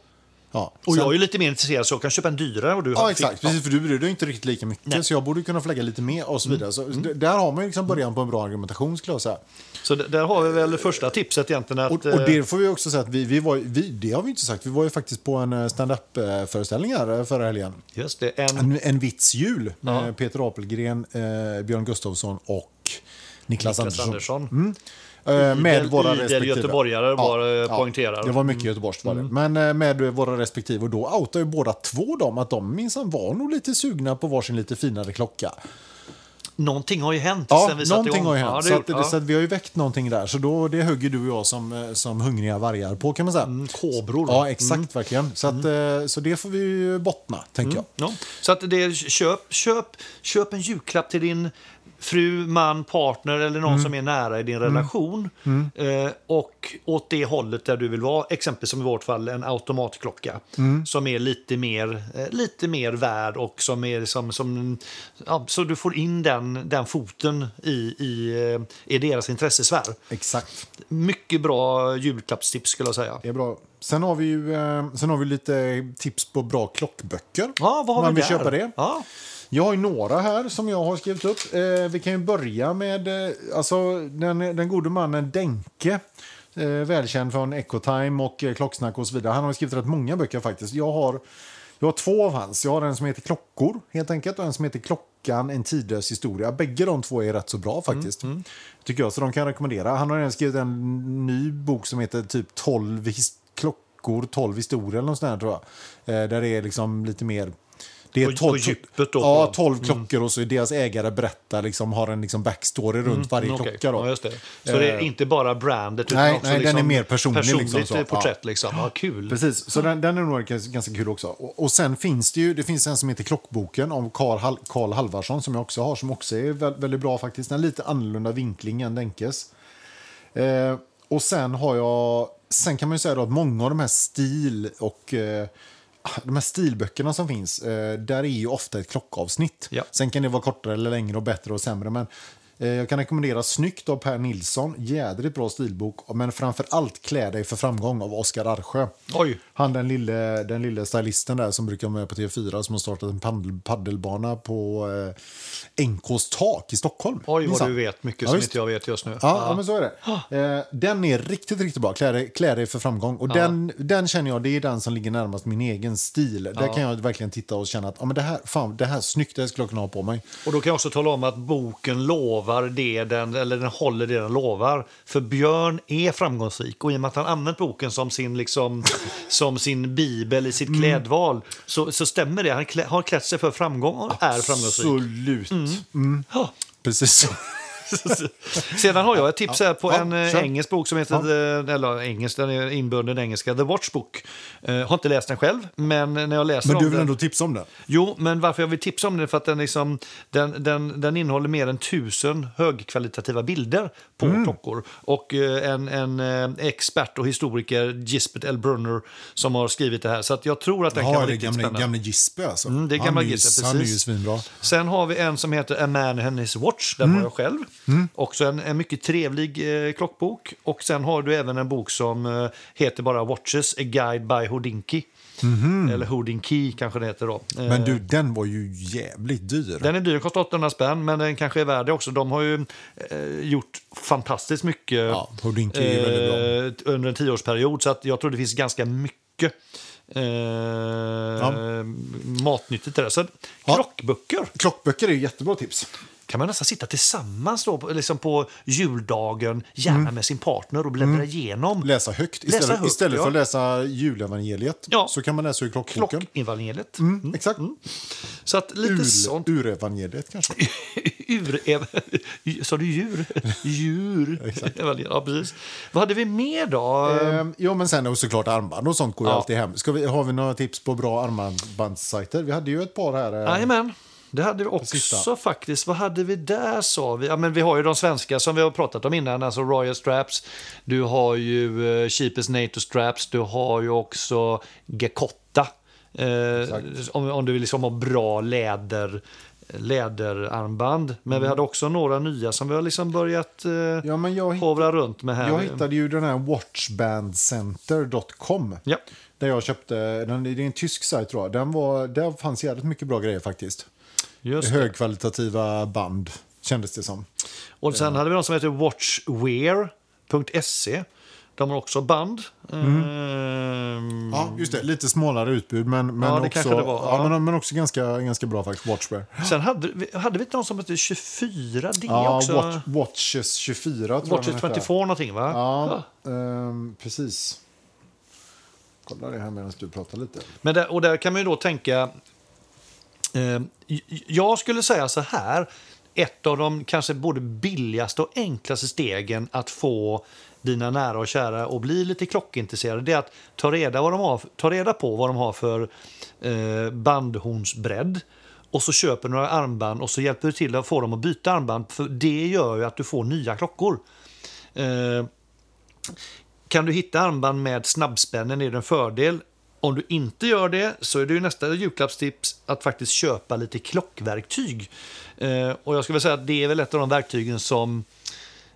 Speaker 2: Ja,
Speaker 1: Och
Speaker 2: sen-
Speaker 1: jag är ju lite mer intresserad så jag kan köpa en dyrare och du
Speaker 2: Ja,
Speaker 1: har-
Speaker 2: exakt. Precis, för du bryr dig inte riktigt lika mycket, så jag borde kunna flagga lite mer och så
Speaker 1: Mm.
Speaker 2: vidare. Så d- Där har man ju liksom början på en bra argumentation, skulle jag säga.
Speaker 1: Så d- där har vi väl första tipset egentligen. Att, eh,
Speaker 2: Och, och det får vi också säga att vi, vi var, ju- vi, det har vi inte sagt, vi var ju faktiskt på en eh, stand-up-föreställning här eh, förra helgen.
Speaker 1: eh, Just det, en,
Speaker 2: En, en vits jul.
Speaker 1: Ja.
Speaker 2: med Peter Apelgren, eh, Björn Gustafsson och Niklas,
Speaker 1: Niklas
Speaker 2: Andersson.
Speaker 1: Andersson.
Speaker 2: Eh, med
Speaker 1: Idel-
Speaker 2: våra
Speaker 1: idel
Speaker 2: respektive.
Speaker 1: göteborgare var, eh, poängterar. Mm.
Speaker 2: Det var mycket Göteborgs var det. Men eh, med våra respektive. Och då outar ju båda två dem att de minsann var nog lite sugna på varsin lite finare klocka.
Speaker 1: Någonting har ju hänt
Speaker 2: Ja,
Speaker 1: sen vi satte
Speaker 2: någonting
Speaker 1: igång.
Speaker 2: har ju hänt.
Speaker 1: Ja, det
Speaker 2: så att,
Speaker 1: gjort, ja.
Speaker 2: så att vi har ju väckt någonting där. Så då, det högger du och jag som, eh, som hungriga vargar på kan man säga.
Speaker 1: Mm, kobror.
Speaker 2: Ja, exakt
Speaker 1: Mm.
Speaker 2: verkligen. Så, att, eh, så det får vi ju bottna, tänker jag.
Speaker 1: Ja. Så att det är, köp, köp, köp en julklapp till din fru, man, partner eller någon som är nära i din relation. Eh, och åt det hållet där du vill vara, exempelvis som i vårt fall en automatklocka som är lite mer, eh, lite mer värd och som är som, som ja, så du får in den, den foten i, i, eh, i deras intressesfär.
Speaker 2: Exakt.
Speaker 1: Mycket bra julklappstips skulle jag säga.
Speaker 2: Det är bra. Sen har vi ju eh, sen har vi lite tips på bra klockböcker.
Speaker 1: Ja, vad har
Speaker 2: Man
Speaker 1: vi
Speaker 2: vill
Speaker 1: där?
Speaker 2: köpa det.
Speaker 1: Ja.
Speaker 2: Jag har ju några här som jag har skrivit upp. Eh, vi kan ju börja med eh, alltså, den, den gode mannen Denke. Eh, välkänd från Ecotime och eh, Klocksnack och så vidare. Han har skrivit rätt många böcker faktiskt. Jag har, jag har två av hans. Jag har en som heter Klockor helt enkelt och en som heter Klockan, en tidlös historia. Bägge de två är rätt så bra faktiskt. Tycker jag, så de kan jag rekommendera. Han har även skrivit en ny bok som heter typ 12 his- klockor, 12 historier eller något sånt där, tror jag. Eh, där det är liksom lite mer... Det är
Speaker 1: På- på
Speaker 2: tolv-
Speaker 1: djupet då,
Speaker 2: Ja,
Speaker 1: på- Mm.
Speaker 2: 12 klockor och så är deras ägare berättar, liksom, har en liksom backstory runt varje
Speaker 1: Mm, Okej.
Speaker 2: klocka. Då. Eh.
Speaker 1: Ja, just det. Så det är inte bara brandet utan
Speaker 2: nej,
Speaker 1: också
Speaker 2: nej, den är
Speaker 1: liksom
Speaker 2: mer personlig, liksom,
Speaker 1: personligt
Speaker 2: så. Ja.
Speaker 1: porträtt. Liksom. Ja, kul.
Speaker 2: Precis, så den, den är nog ganska ganska kul också. Och, och sen finns det ju, det finns en som heter Klockboken om Karl, Hal- Karl Halvarsson som jag också har, som också är vä- väldigt bra faktiskt. En lite annorlunda vinkling än Denkes. Eh, och sen har jag, sen kan man ju säga då att många av de här stil och eh, de här stilböckerna som finns, eh, där är ju ofta ett klockavsnitt.
Speaker 1: Ja.
Speaker 2: Sen kan det vara kortare eller längre och bättre och sämre. Men eh, jag kan rekommendera Snyggt av Per Nilsson. Jädrigt bra stilbok. Men framför allt Klä dig för framgång av Oskar Arsjö.
Speaker 1: Oj.
Speaker 2: Han den lille, den lille stylisten där som brukar vara med på TV4 som har startat en paddel, paddelbana på eh, NKs tak i Stockholm.
Speaker 1: Oj, vad
Speaker 2: Minsann.
Speaker 1: du vet mycket
Speaker 2: Ja,
Speaker 1: som
Speaker 2: visst.
Speaker 1: inte jag vet just nu.
Speaker 2: Ja, ja. men så är det. Eh, den är riktigt, riktigt bra. Klä dig, klä dig för framgång. Och den, den känner jag, det är den som ligger närmast min egen stil. Där kan jag verkligen titta och känna att ja, men det här, fan, det här är snyggt, det här skulle jag kunna ha på mig.
Speaker 1: Och då kan jag också tala om att boken lovar det den, eller den håller det den lovar. För Björn är framgångsrik och i och med att han använt boken som sin, liksom, som sin bibel i sitt
Speaker 2: Mm.
Speaker 1: klädval så, så stämmer det. Han klä, har klätt sig för framgång och är framgångsrik. Mm.
Speaker 2: Absolut. Mm,
Speaker 1: Ja.
Speaker 2: Precis så.
Speaker 1: Sedan har jag ett tips här på
Speaker 2: Ja,
Speaker 1: en eh,
Speaker 2: kör.
Speaker 1: engelsk bok som heter, eh, eller engelsk, den är inbunden engelska, The Watch Book. Eh, har inte läst den själv, men när jag läser
Speaker 2: Men
Speaker 1: om
Speaker 2: du vill
Speaker 1: den...
Speaker 2: ändå tipsa om den?
Speaker 1: Jo, men varför jag vill tipsa om den är för att den, liksom, den, den, den innehåller mer än tusen högkvalitativa bilder på
Speaker 2: Mm.
Speaker 1: klockor. Och eh, en, en eh, expert och historiker, Gisbert L. Brunner, som har skrivit det här. Så att jag tror att den kan
Speaker 2: Ja,
Speaker 1: vara
Speaker 2: det är
Speaker 1: riktigt
Speaker 2: gamle,
Speaker 1: spännande.
Speaker 2: gamle Gispe alltså.
Speaker 1: Mm, det är
Speaker 2: Han
Speaker 1: gamla
Speaker 2: ju-
Speaker 1: Gispe,
Speaker 2: Han är ju
Speaker 1: precis.
Speaker 2: svinbra. Mm.
Speaker 1: Sen har vi en som heter A Man and His Watch. Den har jag själv. Också en, en mycket trevlig eh, klockbok. Och sen har du även en bok som eh, heter bara Watches, A Guide by Houdinki. Eller Houdinki kanske det heter då. Eh,
Speaker 2: Mhm. Men du, den var ju jävligt dyr.
Speaker 1: den är dyr, den kostar 800 spänn, men den kanske är värd det också. De har ju eh, gjort fantastiskt mycket
Speaker 2: Ja, Houdinki är ju väldigt bra.
Speaker 1: eh, under en tioårsperiod, så att jag tror det finns ganska mycket eh, matnyttigt i det. Så
Speaker 2: Ja.
Speaker 1: klockböcker
Speaker 2: Klockböcker är ju jättebra tips.
Speaker 1: kan man nästan sitta tillsammans då, på- liksom på juldagen, gärna
Speaker 2: Mm.
Speaker 1: med sin partner och bläddra igenom.
Speaker 2: Läsa högt. Istället,
Speaker 1: Läsa högt,
Speaker 2: istället
Speaker 1: ja.
Speaker 2: för att läsa julevangeliet
Speaker 1: Ja.
Speaker 2: så kan man läsa ur klockboken.
Speaker 1: Klockevangeliet.
Speaker 2: Mm, Exakt.
Speaker 1: Så att lite
Speaker 2: Ur,
Speaker 1: sånt.
Speaker 2: urevangeliet kanske.
Speaker 1: Ur... Sa du djur? Djur. ja, precis. Vad hade vi mer då?
Speaker 2: Ehm, jo, men sen och såklart armband och sånt går ju
Speaker 1: Eh. Ja.
Speaker 2: alltid hem. Ska vi, har vi några tips på bra armbandssajter? Vi hade ju ett par här. eh,
Speaker 1: Jajamän. Det hade vi också
Speaker 2: Sista.
Speaker 1: faktiskt. Vad hade vi där sa vi? Ja, men vi har ju de svenska som vi har pratat om innan, alltså Royal Straps. Du har ju eh, Cheapest NATO Straps. Du har ju också Gekotta. Eh, om, om du vill liksom ha bra läder, läderarmband. Men vi hade också några nya som vi har liksom börjat eh,
Speaker 2: Mm. Ja, men jag, hitt-
Speaker 1: hovra runt med här.
Speaker 2: jag hittade ju den här watchbandcenter.com.
Speaker 1: Ja.
Speaker 2: Där jag köpte, den, det är en tysk sajt tror jag. Den var, där fanns jävligt mycket bra grejer faktiskt.
Speaker 1: Just det.
Speaker 2: Högkvalitativa band kändes det som.
Speaker 1: Och sen hade vi de som heter Watchwear.se. E. De har också band.
Speaker 2: Mm.
Speaker 1: Ehm,
Speaker 2: Ja, just det. Lite smalare utbud, men, men,
Speaker 1: Ja, det
Speaker 2: också,
Speaker 1: kanske det var,
Speaker 2: ja,
Speaker 1: ja.
Speaker 2: men, men också ganska, ganska bra faktiskt. Watchwear.
Speaker 1: Sen hade, vi- hade vi inte någon som hette 24D
Speaker 2: Ja,
Speaker 1: också?
Speaker 2: Watch, Watches 24 tror jag
Speaker 1: Watches
Speaker 2: den hette.
Speaker 1: 24 någonting va?
Speaker 2: Ja, ehm, precis. Kolla det här medan du pratar lite.
Speaker 1: Men där, och där kan man ju då tänka... Eh, j- jag skulle säga så här. Ett av de kanske både billigaste och enklaste stegen att få dina nära och kära att bli lite klockintresserade det är att ta reda, vad de har, ta reda på vad de har för eh, bandhornsbredd och så köper du några armband och så hjälper du till att få dem att byta armband för det gör ju att du får nya klockor. Eh, kan du hitta armband med snabbspännen är det en fördel. Om du inte gör det så är det ju nästa julklappstips att faktiskt köpa lite klockverktyg. Eh, och jag skulle vilja säga att det är väl ett av de verktygen som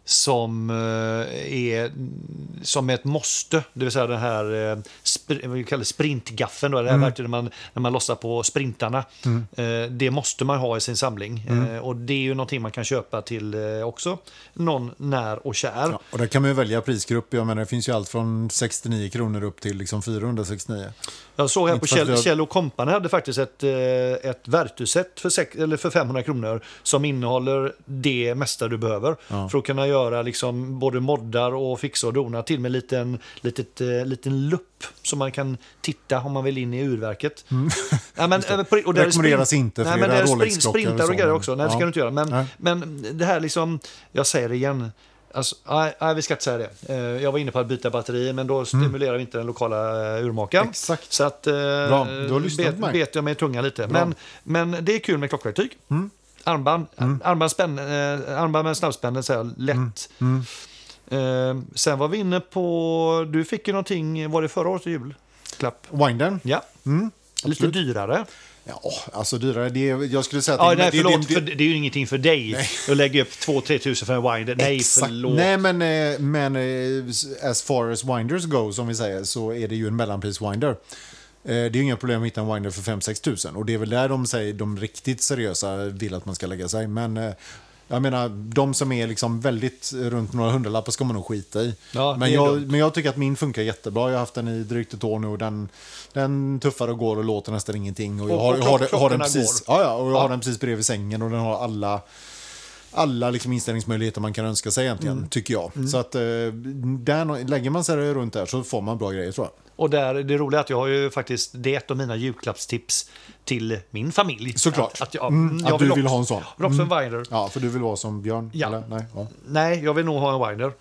Speaker 1: som eh, är som är ett måste, det vill säga den här eh, spr- vad vi kallar det, sprintgaffeln, då, det här verktyget när man, när man lossar på sprintarna. Eh, Det måste man ha i sin samling Eh, och det är ju någonting man kan köpa till eh, också någon när och kär.
Speaker 2: Ja, och där kan man ju välja prisgrupp. Jag menar, det finns ju allt från 69 kronor upp till liksom 469.
Speaker 1: Jag såg här på
Speaker 2: Inte för att
Speaker 1: Kjell,
Speaker 2: vi har-
Speaker 1: Kjell och Company hade faktiskt ett, eh, ett verktygsset för, sex- eller för 500 kronor som innehåller det mesta du behöver för att kunna göra liksom både moddar och fixa och dona till med en liten, litet, eh, liten lupp som man kan titta om man vill in i urverket. Ja, men, eh, på- och där är
Speaker 2: Mm. Rekommenderas
Speaker 1: sprint-
Speaker 2: inte för
Speaker 1: Nej, men
Speaker 2: era
Speaker 1: det är sprint,
Speaker 2: Rolex-klockor
Speaker 1: sprintar
Speaker 2: och
Speaker 1: och
Speaker 2: så,
Speaker 1: grejer
Speaker 2: men-
Speaker 1: också. Nej, det ska
Speaker 2: Ja.
Speaker 1: du inte göra. Men,
Speaker 2: Nej.
Speaker 1: men det här liksom, jag säger det igen. Alltså, nej, nej, vi ska inte säga det. Eh, Jag var inne på att byta batteri, men då stimulerar vi inte den lokala eh, urmakaren.
Speaker 2: Mm. Exakt.
Speaker 1: Så att, eh,
Speaker 2: Bra, du har lyssnat
Speaker 1: bet,
Speaker 2: på mig.
Speaker 1: bet jag mig i tungan lite. Men, men det är kul med klockverktyg.
Speaker 2: Mm.
Speaker 1: Armband, armband, spänn, eh, armband med snabbspännen, så här, lätt.
Speaker 2: Mm.
Speaker 1: Eh, sen var vi inne på, du fick ju någonting, var det förra året i julklapp?
Speaker 2: Windern?
Speaker 1: Ja, lite dyrare.
Speaker 2: Mm. Ja, alltså dyrare. Det är, jag skulle säga att
Speaker 1: Ja,
Speaker 2: det,
Speaker 1: nej,
Speaker 2: det,
Speaker 1: förlåt,
Speaker 2: det,
Speaker 1: för det är ju ingenting för dig att lägga upp 2-3 tusen för en winder. Nej,
Speaker 2: Exakt.
Speaker 1: förlåt.
Speaker 2: Nej, men, eh, men eh, as far as winders go, som vi säger, så är det ju en mellanpris-winder. Eh, Det är ju inga problem att hitta en winder för 5-6 tusen. Och det är väl där de, säger, de riktigt seriösa vill att man ska lägga sig. Men eh, jag menar, de som är liksom väldigt runt några hundralappar ska man nog skita i.
Speaker 1: Ja, det
Speaker 2: men,
Speaker 1: är
Speaker 2: jag,
Speaker 1: dumt.
Speaker 2: men jag tycker att min funkar jättebra. Jag har haft den i drygt ett år nu och den, den tuffar och går och låter nästan ingenting. Och jag
Speaker 1: Och-
Speaker 2: har,
Speaker 1: och
Speaker 2: jag har, den- har den
Speaker 1: klockorna
Speaker 2: precis,
Speaker 1: går.
Speaker 2: ja, ja, och jag
Speaker 1: Ja.
Speaker 2: har den precis bredvid sängen och den har alla alla liksom inställningsmöjligheter man kan önska sig egentligen,
Speaker 1: Mm.
Speaker 2: tycker jag. Så att eh, där, nå- lägger man sig runt där så får man bra grejer tror jag.
Speaker 1: Och där, det roliga är att jag har ju faktiskt, det är ett av mina julklappstips till min familj.
Speaker 2: Såklart.
Speaker 1: Att, att, jag,
Speaker 2: Mm,
Speaker 1: jag
Speaker 2: att du vill
Speaker 1: också-
Speaker 2: ha en Mm. sån.
Speaker 1: jag vill också en winder.
Speaker 2: Ja, för du vill vara som Björn?
Speaker 1: Ja.
Speaker 2: Eller? Nej, ja.
Speaker 1: Nej, jag vill nog ha en winder.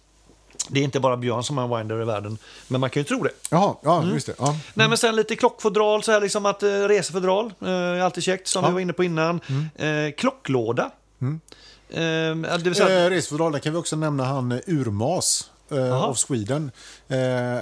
Speaker 1: det är inte bara Björn som har en winder i världen, men man kan ju tro det.
Speaker 2: Jaha, ja,
Speaker 1: Mm.
Speaker 2: just det. Ja.
Speaker 1: Nej, men sen lite klockfodral, så här liksom att eh, resefodral, eh, är alltid käckt, som
Speaker 2: Ja.
Speaker 1: vi var inne på innan. Eh, klocklåda. Mm. Eh, det vill säga,
Speaker 2: Eh, Resefodral, där kan vi också nämna han eh, Urmas eh,
Speaker 1: Jaha.
Speaker 2: av Sweden. Eh,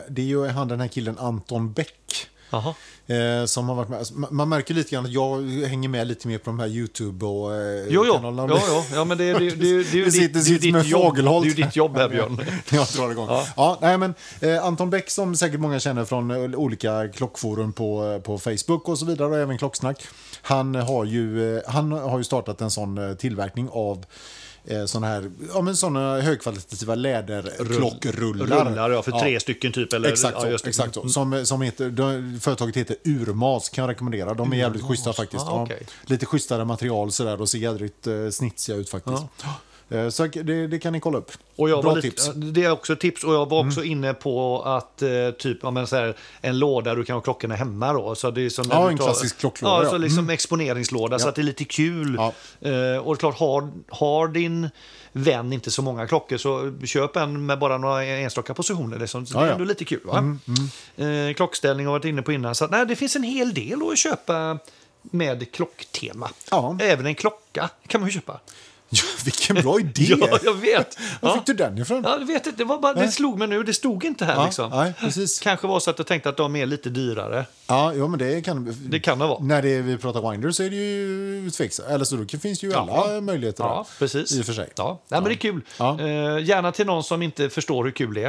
Speaker 2: det är ju han den här killen Anton Bäck
Speaker 1: Jaha.
Speaker 2: Eh, som har varit med. Alltså, ma- Man märker lite grann att jag hänger med lite mer på de här YouTube och eh,
Speaker 1: Jo, jo.
Speaker 2: kanalerna.
Speaker 1: jo, jo. Ja, men det, det, det, det, det, det är ju
Speaker 2: Det sitter-
Speaker 1: ditt, det är ju
Speaker 2: sitter som en
Speaker 1: ditt jobb. Det är
Speaker 2: fågelholk.
Speaker 1: ju ditt jobb här, Björn.
Speaker 2: Jag drar igång.
Speaker 1: Ja.
Speaker 2: Ja. nej, men, eh, Anton Bäck som säkert många känner från eh, olika klockforum på, eh, på Facebook och så vidare och även Klocksnack. Han har ju, eh, han har ju startat en sån eh, tillverkning av eh, såna här ja, men såna högkvalitativa läderklockrullar.
Speaker 1: Rullar, ja, för tre stycken typ. Eller,
Speaker 2: Exakt så.
Speaker 1: ja, just det. Mm.
Speaker 2: exakt så. Som, som heter, de, företaget heter Urmas, kan jag rekommendera. De är jävligt schyssta faktiskt.
Speaker 1: Ah,
Speaker 2: Ja.
Speaker 1: okej.
Speaker 2: Lite schysstare material sådär och ser jädrigt eh, snitsiga ut faktiskt. Eh, Så det, det kan ni kolla upp.
Speaker 1: Och jag
Speaker 2: Bra
Speaker 1: var lite,
Speaker 2: tips.
Speaker 1: Det är också ett tips. Och jag var också inne på att eh, typ ja, men så här, en låda du kan ha klockorna hemma. Då, så det är som när
Speaker 2: Ja,
Speaker 1: du
Speaker 2: en klassisk klocklåda,
Speaker 1: Ja,
Speaker 2: ja. Mm.
Speaker 1: så liksom exponeringslåda. Så att det är lite kul.
Speaker 2: Ja.
Speaker 1: Eh, och det är klart, har, har din vän inte så många klockor så köp en med bara några enstaka positioner. Liksom. Så
Speaker 2: Ja,
Speaker 1: det är
Speaker 2: ja. Mm,
Speaker 1: ändå lite kul. Va? Eh, klockställning har jag varit inne på innan. Så att, nej, det finns en hel del att köpa med klocktema.
Speaker 2: Ja.
Speaker 1: Även en klocka kan man ju köpa.
Speaker 2: Ja, vilken bra idé!
Speaker 1: Ja, jag vet.
Speaker 2: Var
Speaker 1: Ja.
Speaker 2: fick du den ifrån?
Speaker 1: Ja, jag vet inte. Det, var bara, det slog mig nu. Det stod inte här.
Speaker 2: Ja,
Speaker 1: liksom.
Speaker 2: nej, precis.
Speaker 1: Kanske var så att jag tänkte att de är lite dyrare.
Speaker 2: Ja, ja men det kan
Speaker 1: Det kan det vara.
Speaker 2: När det är, vi pratar winder så är det ju tveksamt. Eller så då finns det ju alla möjligheter
Speaker 1: Ja,
Speaker 2: där,
Speaker 1: precis.
Speaker 2: i och för sig.
Speaker 1: Ja. Nej, men det är kul.
Speaker 2: Ja. Mm.
Speaker 1: Eh, gärna till någon som inte förstår hur kul det är.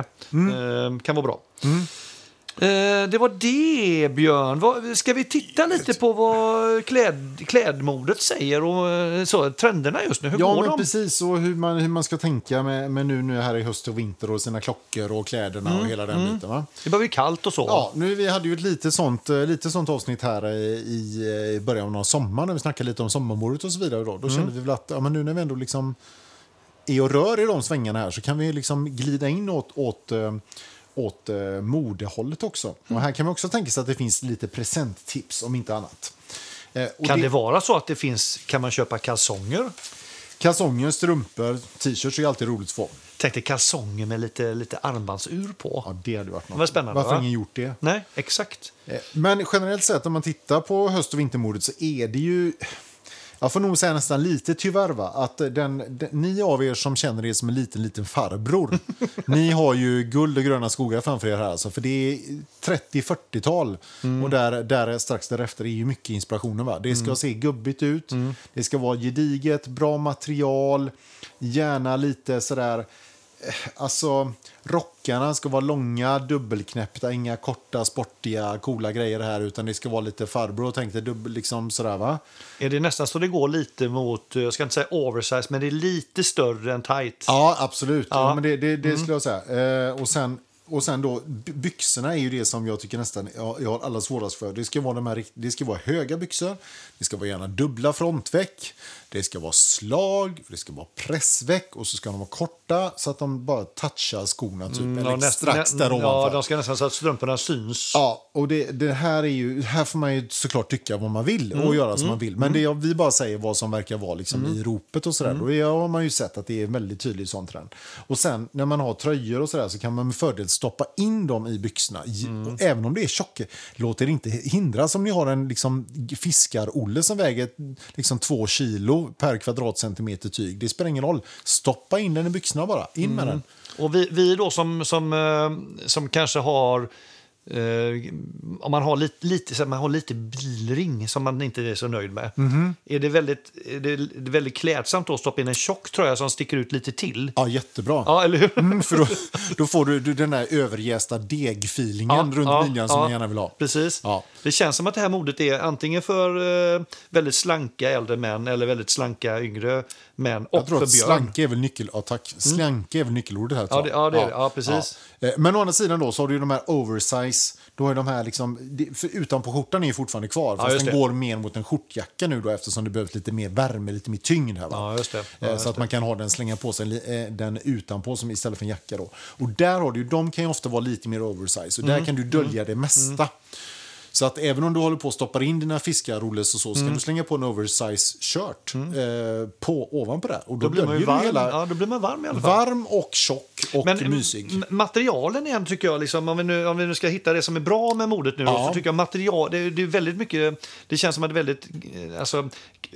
Speaker 1: Eh, kan vara bra. Eh, det var det, Björn. Vad, ska vi titta lite på vad kläd, klädmodet säger och eh, så, trenderna just nu? Hur
Speaker 2: Ja,
Speaker 1: går
Speaker 2: men
Speaker 1: de?
Speaker 2: precis. Och hur man, hur man ska tänka med, med nu, nu här i höst och vinter och sina klockor och kläderna
Speaker 1: Mm,
Speaker 2: och hela den biten. Va?
Speaker 1: Det börjar bli kallt och så.
Speaker 2: Ja, nu, vi hade ju ett lite sånt, eh, lite sånt avsnitt här eh, i, eh, i början av sommaren när vi snackade lite om sommarmodet och så vidare. Då, då
Speaker 1: Mm.
Speaker 2: kände vi väl att ja, men nu när vi ändå liksom är och rör i de svängarna här så kan vi liksom glida in åt, åt, eh, åt eh, modehållet också.
Speaker 1: Mm.
Speaker 2: Och här kan man också tänka sig att det finns lite presenttips om inte annat. Eh, och
Speaker 1: Kan
Speaker 2: det-
Speaker 1: det vara så att det finns, kan man köpa kalsonger?
Speaker 2: Kalsonger, strumpor, t-shirts är alltid roligt att få.
Speaker 1: Tänkte kalsonger med lite, lite armbandsur på.
Speaker 2: Ja, det hade varit något.
Speaker 1: Vad spännande,
Speaker 2: Varför
Speaker 1: va?
Speaker 2: har ingen gjort det?
Speaker 1: Nej, exakt.
Speaker 2: Eh, Men generellt sett, om man tittar på höst och vintermodet så är det ju... Jag får nog säga nästan lite tyvärr, va? att den, den, ni av er som känner er som en liten, liten farbror, ni har ju guld och gröna skogar framför er här. Alltså, för det är 30-40-tal
Speaker 1: Mm.
Speaker 2: och där, där strax därefter är ju mycket inspirationen. Va? Det ska se gubbigt ut,
Speaker 1: Mm.
Speaker 2: det ska vara gediget, bra material, gärna lite sådär... Alltså, rockarna ska vara långa, dubbelknäppta, inga korta, sportiga, coola grejer här, utan det ska vara lite farbror, tänkte dubbel, liksom sådär va?
Speaker 1: Är det nästan så det går lite mot, eh, jag ska inte säga oversize, men det är lite större än tight.
Speaker 2: Ja, absolut. Ja.
Speaker 1: Ja. Mm.
Speaker 2: men det det, det skulle jag säga. Eh, och, sen, och sen då, by- byxorna är ju det som jag tycker nästan jag, jag har allra svårast för. Det ska, vara de här, rikt- det ska vara höga byxor, det ska vara gärna dubbla frontveck, det ska vara slag, det ska vara pressveck och så ska de vara korta så att de bara touchar skorna typ, eller
Speaker 1: Mm, Ja, näst-
Speaker 2: strax
Speaker 1: nä-
Speaker 2: där
Speaker 1: Ja,
Speaker 2: ovanför.
Speaker 1: de ska nästan så att strumporna syns.
Speaker 2: Ja, och det, det här är ju, här får man ju såklart tycka vad man vill och göra som man vill. Men det jag, vi bara säger vad som verkar vara liksom i ropet och sådär. Och det har man ju sett att det är en väldigt tydlig sån trend. Och sen när man har tröjor och sådär så kan man med fördel stoppa in dem i byxorna. J- Och även om det är tjocka, låt er inte hindras om ni har en liksom, fiskar-Olle som väger liksom, två kilo per kvadratcentimeter tyg. Det spelar ingen roll. Stoppa in den i byxorna bara. In med den.
Speaker 1: Och vi, vi då som, som, eh, som kanske har eh, om man har lite, lite, så här, man har lite bilring som man inte är så nöjd med.
Speaker 2: Mhm.
Speaker 1: Är, det väldigt, är det är det väldigt klädsamt då att stoppa in en tjock tröja som sticker ut lite till?
Speaker 2: Ja, jättebra.
Speaker 1: Ja, eller hur?
Speaker 2: Mm, för då, då får du, du den där överjästa degfeelingen runt
Speaker 1: ja,
Speaker 2: midjan som
Speaker 1: ja.
Speaker 2: man gärna vill ha.
Speaker 1: Precis.
Speaker 2: Ja.
Speaker 1: Det känns som att det här modet är antingen för eh, väldigt slanka äldre män eller väldigt slanka yngre män och
Speaker 2: Jag tror
Speaker 1: för
Speaker 2: att
Speaker 1: Björn.
Speaker 2: slanke är väl, nyckel, ja, tack. Slanke är väl nyckelordet här. tror jag.
Speaker 1: det- ja, det är det. Ja, precis.
Speaker 2: Ja. Eh, Men å andra sidan då, så har du ju de här oversize. Då är de här liksom, det- för utanpå skjortan är ju fortfarande kvar. Fast
Speaker 1: just
Speaker 2: den
Speaker 1: det.
Speaker 2: går mer mot en skjortjacka nu då, eftersom det behövs lite mer värme, lite mer tyngd. Här, va?
Speaker 1: Ja, just det. Ja,
Speaker 2: Eh,
Speaker 1: just
Speaker 2: så att man kan ha den, slänga på sig li- eh, den utanpå som istället för en jacka. Då. Och där har du, ju- de kan ju ofta vara lite mer oversize och där
Speaker 1: Mm.
Speaker 2: kan du dölja det mesta. Så att även om du håller på och stoppar in dina fiskarolles och så, så
Speaker 1: Mm.
Speaker 2: kan du slänga på en oversize shirt eh, på, ovanpå det. här. Och då,
Speaker 1: Då blir man ju
Speaker 2: döljer du
Speaker 1: varm.
Speaker 2: hela,
Speaker 1: Ja, då blir man varm i alla fall.
Speaker 2: varm och tjock och mysig.
Speaker 1: m- materialen igen tycker jag, liksom, om, vi nu, om vi nu ska hitta det som är bra med modet nu, då,
Speaker 2: Ja.
Speaker 1: så tycker jag material, det, är- det är väldigt mycket, det känns som att det är väldigt, eh, alltså,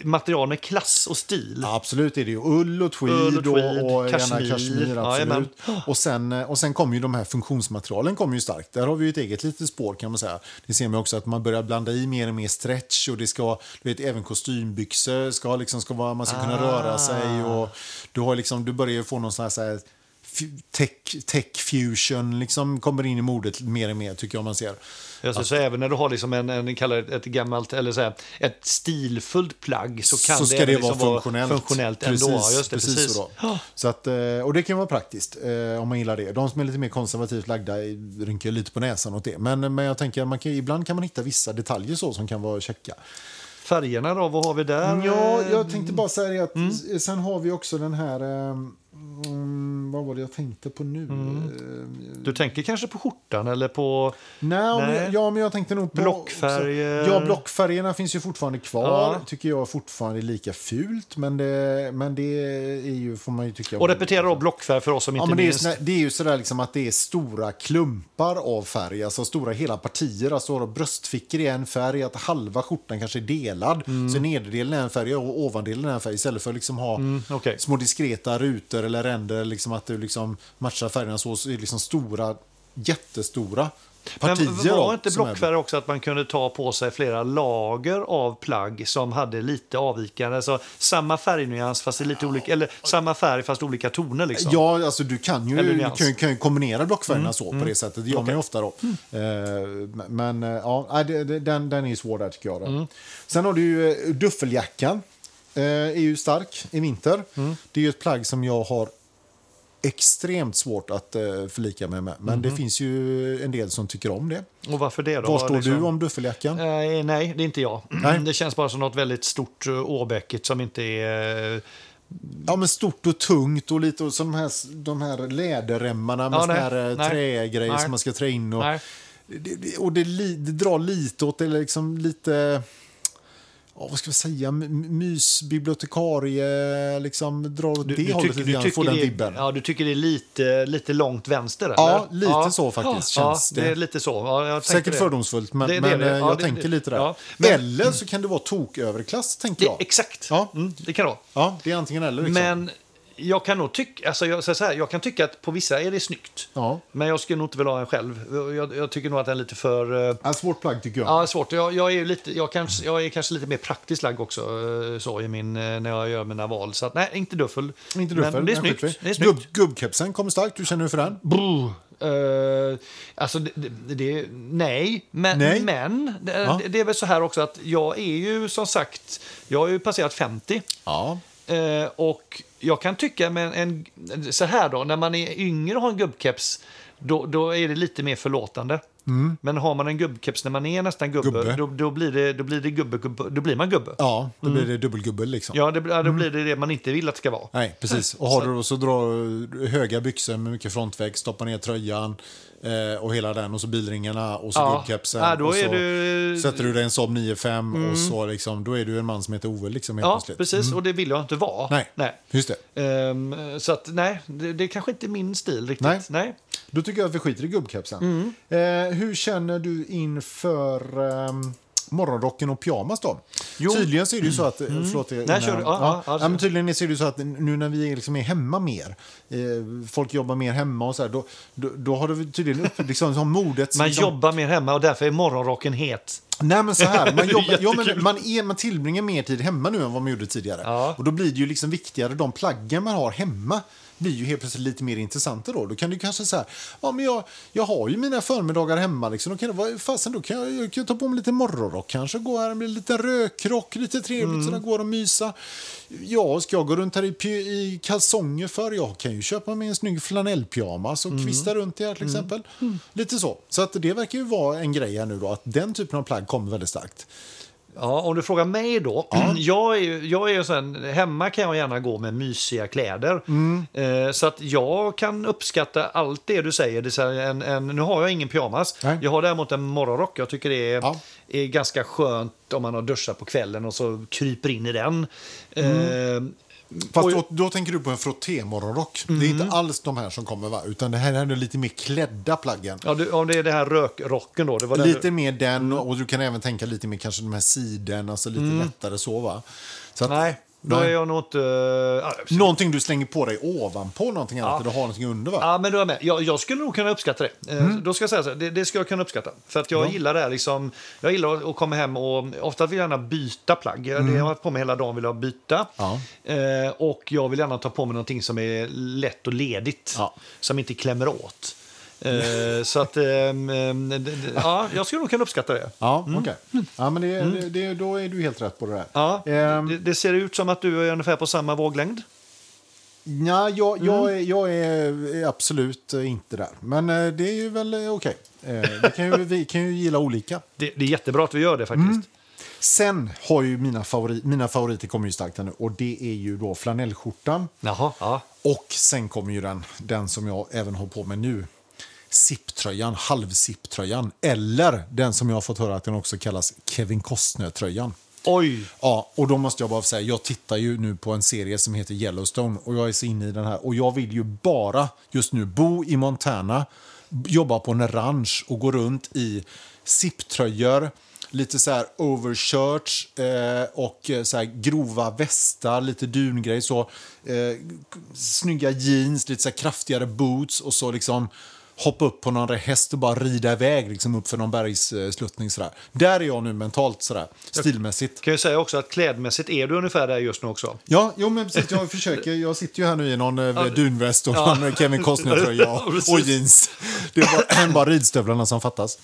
Speaker 1: material med klass och stil.
Speaker 2: Ja, Absolut är det ju ull och tweed,
Speaker 1: Ull och tweed,
Speaker 2: och, och
Speaker 1: kashmir.
Speaker 2: gärna kashmir.
Speaker 1: Jajamän.
Speaker 2: Absolut. och, sen, och sen kommer ju de här funktionsmaterialen kommer ju starkt. Där har vi ju ett eget litet spår kan man säga. Det ser man också också att man börjar blanda i mer och mer stretch och det ska, du vet, även kostymbyxor ska liksom, ska vara, man ska kunna
Speaker 1: Ah.
Speaker 2: röra sig och du har liksom, du börjar ju få någon sån här, så här f- tech, tech fusion liksom kommer in i modet mer och mer tycker jag man ser.
Speaker 1: Ja, så, så även när du har liksom en, en kallar det ett gammalt eller så här, ett stilfullt plagg så kan
Speaker 2: så ska
Speaker 1: det,
Speaker 2: det,
Speaker 1: även
Speaker 2: vara
Speaker 1: liksom
Speaker 2: funktionellt,
Speaker 1: funktionellt ändå.
Speaker 2: Precis,
Speaker 1: Ja, Just det,
Speaker 2: precis,
Speaker 1: precis.
Speaker 2: Så då. Så att, eh, och det kan vara praktiskt eh, om man gillar det. De som är lite mer konservativt lagda rynkar ju lite på näsan åt det. Men, men jag tänker att man kan, ibland kan man hitta vissa detaljer så som kan vara käcka.
Speaker 1: Färgerna då, vad har vi där?
Speaker 2: Ja, jag tänkte bara säga det att sen har vi också den här... eh, Mm, vad var det jag tänkte på nu? Eh,
Speaker 1: Du tänker kanske på skjortan eller på...
Speaker 2: Nej, Men,
Speaker 1: Nej.
Speaker 2: jag- ja, men jag tänkte nog på...
Speaker 1: Blockfärger.
Speaker 2: också- Ja, blockfärgerna finns ju fortfarande kvar.
Speaker 1: Ja.
Speaker 2: Tycker jag fortfarande är lika fult, men det, men det är ju, får man ju tycka...
Speaker 1: Och repetera då blockfärg för oss som
Speaker 2: Ja,
Speaker 1: inte
Speaker 2: men det, är, ju
Speaker 1: minns.
Speaker 2: såna- det är ju sådär liksom att det är stora klumpar av färg, alltså stora hela partier. Alltså har du bröstfickor i en färg, att halva skjortan kanske är delad.
Speaker 1: Mm.
Speaker 2: Så nederdelen är en färg och ovandelen är en färg. Istället för att liksom ha
Speaker 1: Mm, okej.
Speaker 2: små diskreta rutor eller ränder, liksom att du liksom matchar färgerna så, så är det liksom stora, jättestora partier.
Speaker 1: Men
Speaker 2: av-
Speaker 1: var inte
Speaker 2: som är-
Speaker 1: blockfärg också att man kunde ta på sig flera lager av plagg som hade lite avvikande? Så samma färgnyans fast i lite olika, eller samma färg fast olika toner liksom?
Speaker 2: Ja, alltså du kan ju,
Speaker 1: Eller
Speaker 2: du
Speaker 1: nyans. Mm.
Speaker 2: kan, ju- kan ju kombinera blockfärgerna så på det sättet. Det gör man ju ofta då. Eh, men eh, ja, nej, det- det- den, den är ju svår där tycker jag. Då.
Speaker 1: Mm.
Speaker 2: Sen har du ju eh, duffeljackan. Eh, är ju stark i vinter.
Speaker 1: Mm.
Speaker 2: Det är ju ett plagg som jag har extremt svårt att eh, förlika mig med. Men det finns ju en del som tycker om det.
Speaker 1: Och varför Mhm. det då?
Speaker 2: Var
Speaker 1: Vad
Speaker 2: står
Speaker 1: liksom-
Speaker 2: du om duffeljackan?
Speaker 1: Eh, nej, det är inte jag.
Speaker 2: Nej.
Speaker 1: Det känns bara som något väldigt stort eh, åbäckigt som inte är... eh,
Speaker 2: Ja, men stort och tungt och lite och så de här, de här läderremmarna med
Speaker 1: Ja,
Speaker 2: såna
Speaker 1: nej,
Speaker 2: här eh,
Speaker 1: nej,
Speaker 2: trägrejer
Speaker 1: nej.
Speaker 2: som man ska trä in. Och,
Speaker 1: nej.
Speaker 2: Det, det, och det, li, det drar lite åt det, eller liksom lite... Ja, vad ska vi säga? M- Mysbibliotekarie, liksom drar åt det hållet lite grann. Får den
Speaker 1: det,
Speaker 2: vibben.
Speaker 1: Ja, du tycker det är lite, lite långt vänster? Eller?
Speaker 2: Ja, lite så faktiskt
Speaker 1: ja,
Speaker 2: känns
Speaker 1: det.
Speaker 2: det.
Speaker 1: är lite så. Ja, jag tänker
Speaker 2: Säkert
Speaker 1: det.
Speaker 2: fördomsfullt, men,
Speaker 1: Det- det är
Speaker 2: men
Speaker 1: det.
Speaker 2: eh,
Speaker 1: Ja,
Speaker 2: jag
Speaker 1: det-
Speaker 2: tänker
Speaker 1: det-
Speaker 2: lite där.
Speaker 1: ja. Men-
Speaker 2: eller så kan det vara toköverklass, tänker
Speaker 1: Det,
Speaker 2: jag.
Speaker 1: exakt,
Speaker 2: Ja.
Speaker 1: mm, det kan det vara.
Speaker 2: Ja, det är antingen eller. Liksom.
Speaker 1: Men jag kan nog tycka, alltså jag, så här, jag kan tycka att på vissa är det snyggt.
Speaker 2: Ja.
Speaker 1: Men jag skulle nog inte vilja ha en själv. Jag, jag tycker nog att den är lite för... eh,
Speaker 2: Ja, svårt plagg, tycker jag.
Speaker 1: Ja, svårt. Jag, jag, är ju lite, jag, kanske, jag är kanske lite mer praktiskt lagd också eh, så, i min, eh, när jag gör mina val. Så att, nej, inte duffel.
Speaker 2: Inte du
Speaker 1: Men
Speaker 2: för,
Speaker 1: det är
Speaker 2: den
Speaker 1: snyggt.
Speaker 2: skiter vi.
Speaker 1: Det är snyggt.
Speaker 2: Gubb, gubbkepsen kommer starkt. Hur känner du för den?
Speaker 1: Brr. Eh, alltså, det, det, det, nej, men,
Speaker 2: Nej.
Speaker 1: men det,
Speaker 2: Ja.
Speaker 1: det är väl så här också att jag är ju som sagt, jag har ju passerat 50.
Speaker 2: Ja.
Speaker 1: Eh, och jag kan tycka, men en, så här då, när man är yngre och har en gubbkeps, då, då är det lite mer förlåtande. Men har man en gubbkeps när man är nästan gubbe,
Speaker 2: Mm. Gubbe.
Speaker 1: Då, då blir det, då blir det gubbe, gubbe, då blir man gubbe. Ja,
Speaker 2: Ja, då blir det dubbelgubbe, liksom.
Speaker 1: det, ja, då blir det det man inte vill att det ska vara.
Speaker 2: Nej, precis. Och har du då så drar du höga byxor med mycket frontväxt, stoppar ner tröjan eh, och hela den och så bilringarna och så
Speaker 1: Ja.
Speaker 2: gubbkepsen.
Speaker 1: Ja, då
Speaker 2: och så
Speaker 1: är du- Mm.
Speaker 2: sätter du dig i en Saab 9-5 och så liksom, då är du en man som heter Ove liksom helt
Speaker 1: Ja,
Speaker 2: plötsligt.
Speaker 1: precis. Och det vill jag inte vara.
Speaker 2: Nej. Just det.
Speaker 1: Ehm, så att nej, det, det kanske inte är min stil riktigt.
Speaker 2: Nej.
Speaker 1: Nej.
Speaker 2: Då tycker jag att vi skiter i gubbkepsen.
Speaker 1: Mm.
Speaker 2: Eh, hur känner du inför ehm, morgonrocken och pyjamas då?
Speaker 1: Jo.
Speaker 2: Tydligen så är det ju så att... Mm. Förlåt, innan-
Speaker 1: kör du. Ja,
Speaker 2: ja.
Speaker 1: ja, ja.
Speaker 2: Ja, men tydligen så är det ju så att nu när vi liksom är hemma mer, eh, folk jobbar mer hemma och så här, då, då, då har du tydligen upp, liksom, som modet...
Speaker 1: Man
Speaker 2: liksom,
Speaker 1: jobbar mer hemma och därför är morgonrocken het.
Speaker 2: Nej, men så här. Man,
Speaker 1: Det är
Speaker 2: jobbar, ja, men
Speaker 1: jättekul.
Speaker 2: man, är, man tillbringar mer tid hemma nu än vad man gjorde tidigare.
Speaker 1: Ja.
Speaker 2: Och då blir det ju liksom viktigare. De plaggen man har hemma blir ju helt plötsligt lite mer intressanta då. Då kan du kanske säga, ja men jag, jag har ju mina förmiddagar hemma liksom. Då kan, det vara- fasen, då kan jag, jag kan ta på mig lite morgonrock kanske, gå här med lite rökrock, lite trevligt
Speaker 1: Mm.
Speaker 2: så där går och mysa. Ja, ska jag gå runt här i, py- i kalsonger för? Jag kan ju köpa mig en snygg flanellpyjamas
Speaker 1: Mm.
Speaker 2: och kvista runt i här till exempel. Lite så. Så att det verkar ju vara en grej här nu då, att den typen av plagg kommer väldigt starkt.
Speaker 1: Ja, om du frågar mig då. Jag är ju, jag är ju sån, hemma kan jag gärna gå med mysiga kläder.
Speaker 2: Mm.
Speaker 1: Eh, så att jag kan uppskatta allt det du säger. Det är så här en, en, nu har jag ingen pyjamas.
Speaker 2: Nej.
Speaker 1: Jag har däremot en morgonrock. Jag tycker det är,
Speaker 2: Ja.
Speaker 1: är ganska skönt om man har duschat på kvällen och så kryper in i den. Eh,
Speaker 2: Mm. Fast
Speaker 1: Och- Mm.
Speaker 2: då, då tänker du på en frottémorgonrock. Det är inte alls de här som kommer, va? utan det här är lite mer klädda plaggen.
Speaker 1: ja, du, om det är det här rökrocken då. Det Mm. var den
Speaker 2: Lite
Speaker 1: du,
Speaker 2: mer den, och du kan även tänka lite mer kanske de här siden, alltså lite lättare så. Va? så att,
Speaker 1: Mm. nej, Då
Speaker 2: Nej.
Speaker 1: är jag nog inte... eh, ah, ja, precis.
Speaker 2: Någonting du slänger på dig ovanpå någonting annat,
Speaker 1: Ja.
Speaker 2: eller du har någonting under va?
Speaker 1: Ja, ah, men du är jag med. Jag, jag skulle nog kunna uppskatta det. Eh,
Speaker 2: Mm.
Speaker 1: Då ska jag säga så här, det, det ska jag kunna uppskatta. För att jag gillar det här liksom, jag gillar att komma hem och ofta vill jag gärna byta plagg. Det jag har haft på mig hela dagen vill jag byta.
Speaker 2: Mm. Ja.
Speaker 1: Eh, och jag vill gärna ta på mig någonting som är lätt och ledigt.
Speaker 2: Ja.
Speaker 1: Som inte klämmer åt. Eh, så att, ehm, ehm, d- d- ja, jag skulle nog kunna uppskatta det.
Speaker 2: Ja, okej. Ja, men det, det, det, då är du helt rätt på det där.
Speaker 1: Mm. Ja,
Speaker 2: Ehm,
Speaker 1: det, det ser ut som att du är ungefär på samma våglängd.
Speaker 2: Nja, jag,
Speaker 1: Mm.
Speaker 2: jag, är- jag är är absolut eh, inte där. Men eh, det är ju väl eh, okej. Eh, vi, kan ju, vi kan ju gilla olika.
Speaker 1: Det, det är jättebra att vi gör det faktiskt.
Speaker 2: Mm. Sen har ju mina, favori, mina favoriter kommer ju starkt här nu och det är ju då flanellskjortan.
Speaker 1: Jaha, ja.
Speaker 2: Och sen kommer ju den, den som jag även har på mig nu. Sipptröjan, halvsipptröjan. Eller den som jag har fått höra att den också kallas Kevin Costner-tröjan.
Speaker 1: Oj!
Speaker 2: Ja, och då måste jag bara säga, jag tittar ju nu på en serie som heter Yellowstone och jag är så inne i den här och jag vill ju bara just nu bo i Montana, b- jobba på en ranch och gå runt i sipptröjor, lite så här overshirts eh, och eh, så här grova västar, lite dungrej så, eh, k- snygga jeans, lite så här kraftigare boots och så liksom hoppa upp på någon häst och bara rida iväg liksom upp för någon bergssluttning. Sådär. Där är jag nu mentalt, sådär, stilmässigt.
Speaker 1: Kan ju säga också att klädmässigt är du ungefär där just nu också.
Speaker 2: Ja, jo, men precis, jag försöker. Jag sitter ju här nu i någon eh, dunväst och
Speaker 1: Ja.
Speaker 2: någon Kevin Costner-tröja och,
Speaker 1: Precis.
Speaker 2: och jeans. Det är bara, bara ridstövlarna som fattas.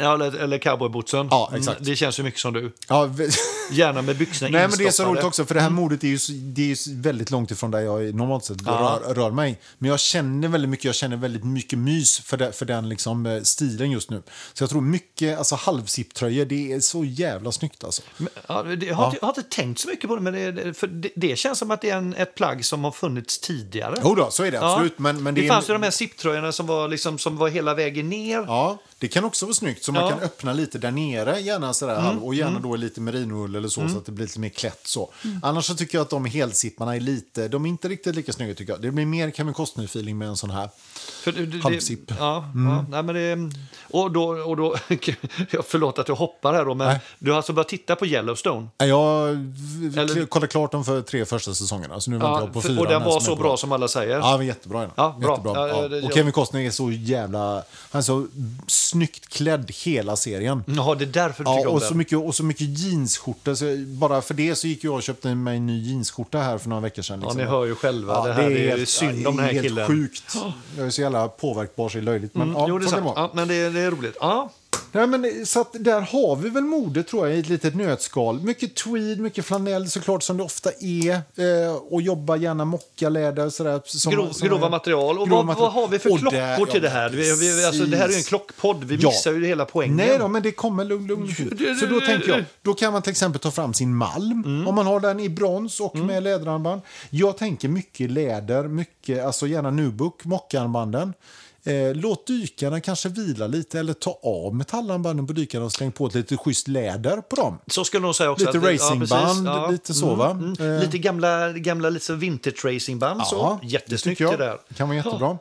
Speaker 1: Ja, eller, eller cowboybootsen.
Speaker 2: Ja, exakt.
Speaker 1: Mm, Det känns ju mycket som du.
Speaker 2: Ja, vi-
Speaker 1: Gärna med byxorna
Speaker 2: Nej, men det är så
Speaker 1: instoppade. Mm.
Speaker 2: roligt också, för det här modet är ju, så- det är ju så väldigt långt ifrån där jag normalt sett rör, rör mig. Men jag känner väldigt mycket, jag känner väldigt mycket mys för, det, för den liksom, eh, stilen just nu. Så jag tror mycket, alltså halvsipptröjor, det är så jävla snyggt alltså.
Speaker 1: Men, Ja, det, jag, har inte, jag har inte tänkt så mycket på det, men det, det- för det, det känns som att det är en, ett plagg som har funnits tidigare.
Speaker 2: Jo då, så är det
Speaker 1: Ja.
Speaker 2: absolut. Men, men
Speaker 1: det,
Speaker 2: det, är-
Speaker 1: fanns ju de här zipptröjorna som var, liksom, som var hela vägen ner.
Speaker 2: Ja, det kan också vara snyggt. Så man
Speaker 1: Ja. Mm.
Speaker 2: kan öppna lite där nere gärna sådär, halv- och gärna då i lite merinoull eller så, så att det blir lite mer klätt. Så.
Speaker 1: Mm.
Speaker 2: Annars så tycker jag att de helsipparna är lite, de är inte riktigt lika snygga tycker jag. Det blir mer Kevin Costner-feeling med en sån här.
Speaker 1: För det- det-
Speaker 2: Halvsipp. Mm.
Speaker 1: Ja, ja, nej, men det, och då, och då, jag förlåt att jag hoppar här då, men
Speaker 2: Nej.
Speaker 1: du har alltså börjat titta på Yellowstone.
Speaker 2: Nej, Jag
Speaker 1: Eller-
Speaker 2: eller... kollade klart de för tre första säsongerna, så nu väntar jag på
Speaker 1: för-
Speaker 2: fyra.
Speaker 1: och den var så bra som alla säger.
Speaker 2: Ja, men jättebra är den.
Speaker 1: Ja, bra.
Speaker 2: Jättebra.
Speaker 1: Ja,
Speaker 2: Ja,
Speaker 1: det- jag-
Speaker 2: Och Kevin Costner är så jävla... Han är så snyggt klädd hela serien.
Speaker 1: Jaha, det är därför du
Speaker 2: Ja,
Speaker 1: tycker om
Speaker 2: och
Speaker 1: den.
Speaker 2: så, mycket, och så mycket jeansskjortor. Så bara för det så gick jag och köpte mig en ny jeansskjorta här för några veckor sedan.
Speaker 1: Ja,
Speaker 2: Liksom.
Speaker 1: ni hör ju själva.
Speaker 2: Ja,
Speaker 1: det här är,
Speaker 2: helt-
Speaker 1: synd
Speaker 2: ja,
Speaker 1: om den
Speaker 2: det
Speaker 1: här
Speaker 2: är helt
Speaker 1: killen. Mm,
Speaker 2: sjukt. Jag är så jävla påverkbar så det är löjligt. Men, ja,
Speaker 1: jo, det är
Speaker 2: så kan
Speaker 1: sant.
Speaker 2: det vara.
Speaker 1: Ja, men det är, det är roligt. Ja.
Speaker 2: Nej, men, så att där har vi väl mode tror jag i ett litet nötskal. Mycket tweed, mycket flanell såklart som det ofta är. Eh, och jobba gärna mockaläder och sådär. Som,
Speaker 1: Grov,
Speaker 2: som-
Speaker 1: grova material. Och
Speaker 2: grova
Speaker 1: vad,
Speaker 2: material.
Speaker 1: vad har vi för
Speaker 2: Och
Speaker 1: klockor
Speaker 2: där-
Speaker 1: till det här?
Speaker 2: ja,
Speaker 1: Vi, vi, alltså, det här är ju en
Speaker 2: precis.
Speaker 1: klockpodd. Vi
Speaker 2: Ja.
Speaker 1: missar ju hela poängen.
Speaker 2: Nej då, men det kommer lugn, lugn. Så då tänker jag, då kan man till exempel ta fram sin malm,
Speaker 1: Mm.
Speaker 2: om man har den i brons och med läderarmband. Jag tänker mycket läder, mycket, alltså gärna nubuck, mockarmbanden. Eh, låt dykarna kanske vila lite eller ta av metallarmbanden på dykarna och släng på ett lite schysst läder på dem.
Speaker 1: Så skulle de säga också.
Speaker 2: Lite
Speaker 1: att det-
Speaker 2: racingband,
Speaker 1: precis. Mm,
Speaker 2: lite så, va? Eh.
Speaker 1: Lite gamla, gamla lite vintage racingband. så. Jättesnyggt
Speaker 2: tycker
Speaker 1: det
Speaker 2: jag.
Speaker 1: där.
Speaker 2: kan vara jättebra.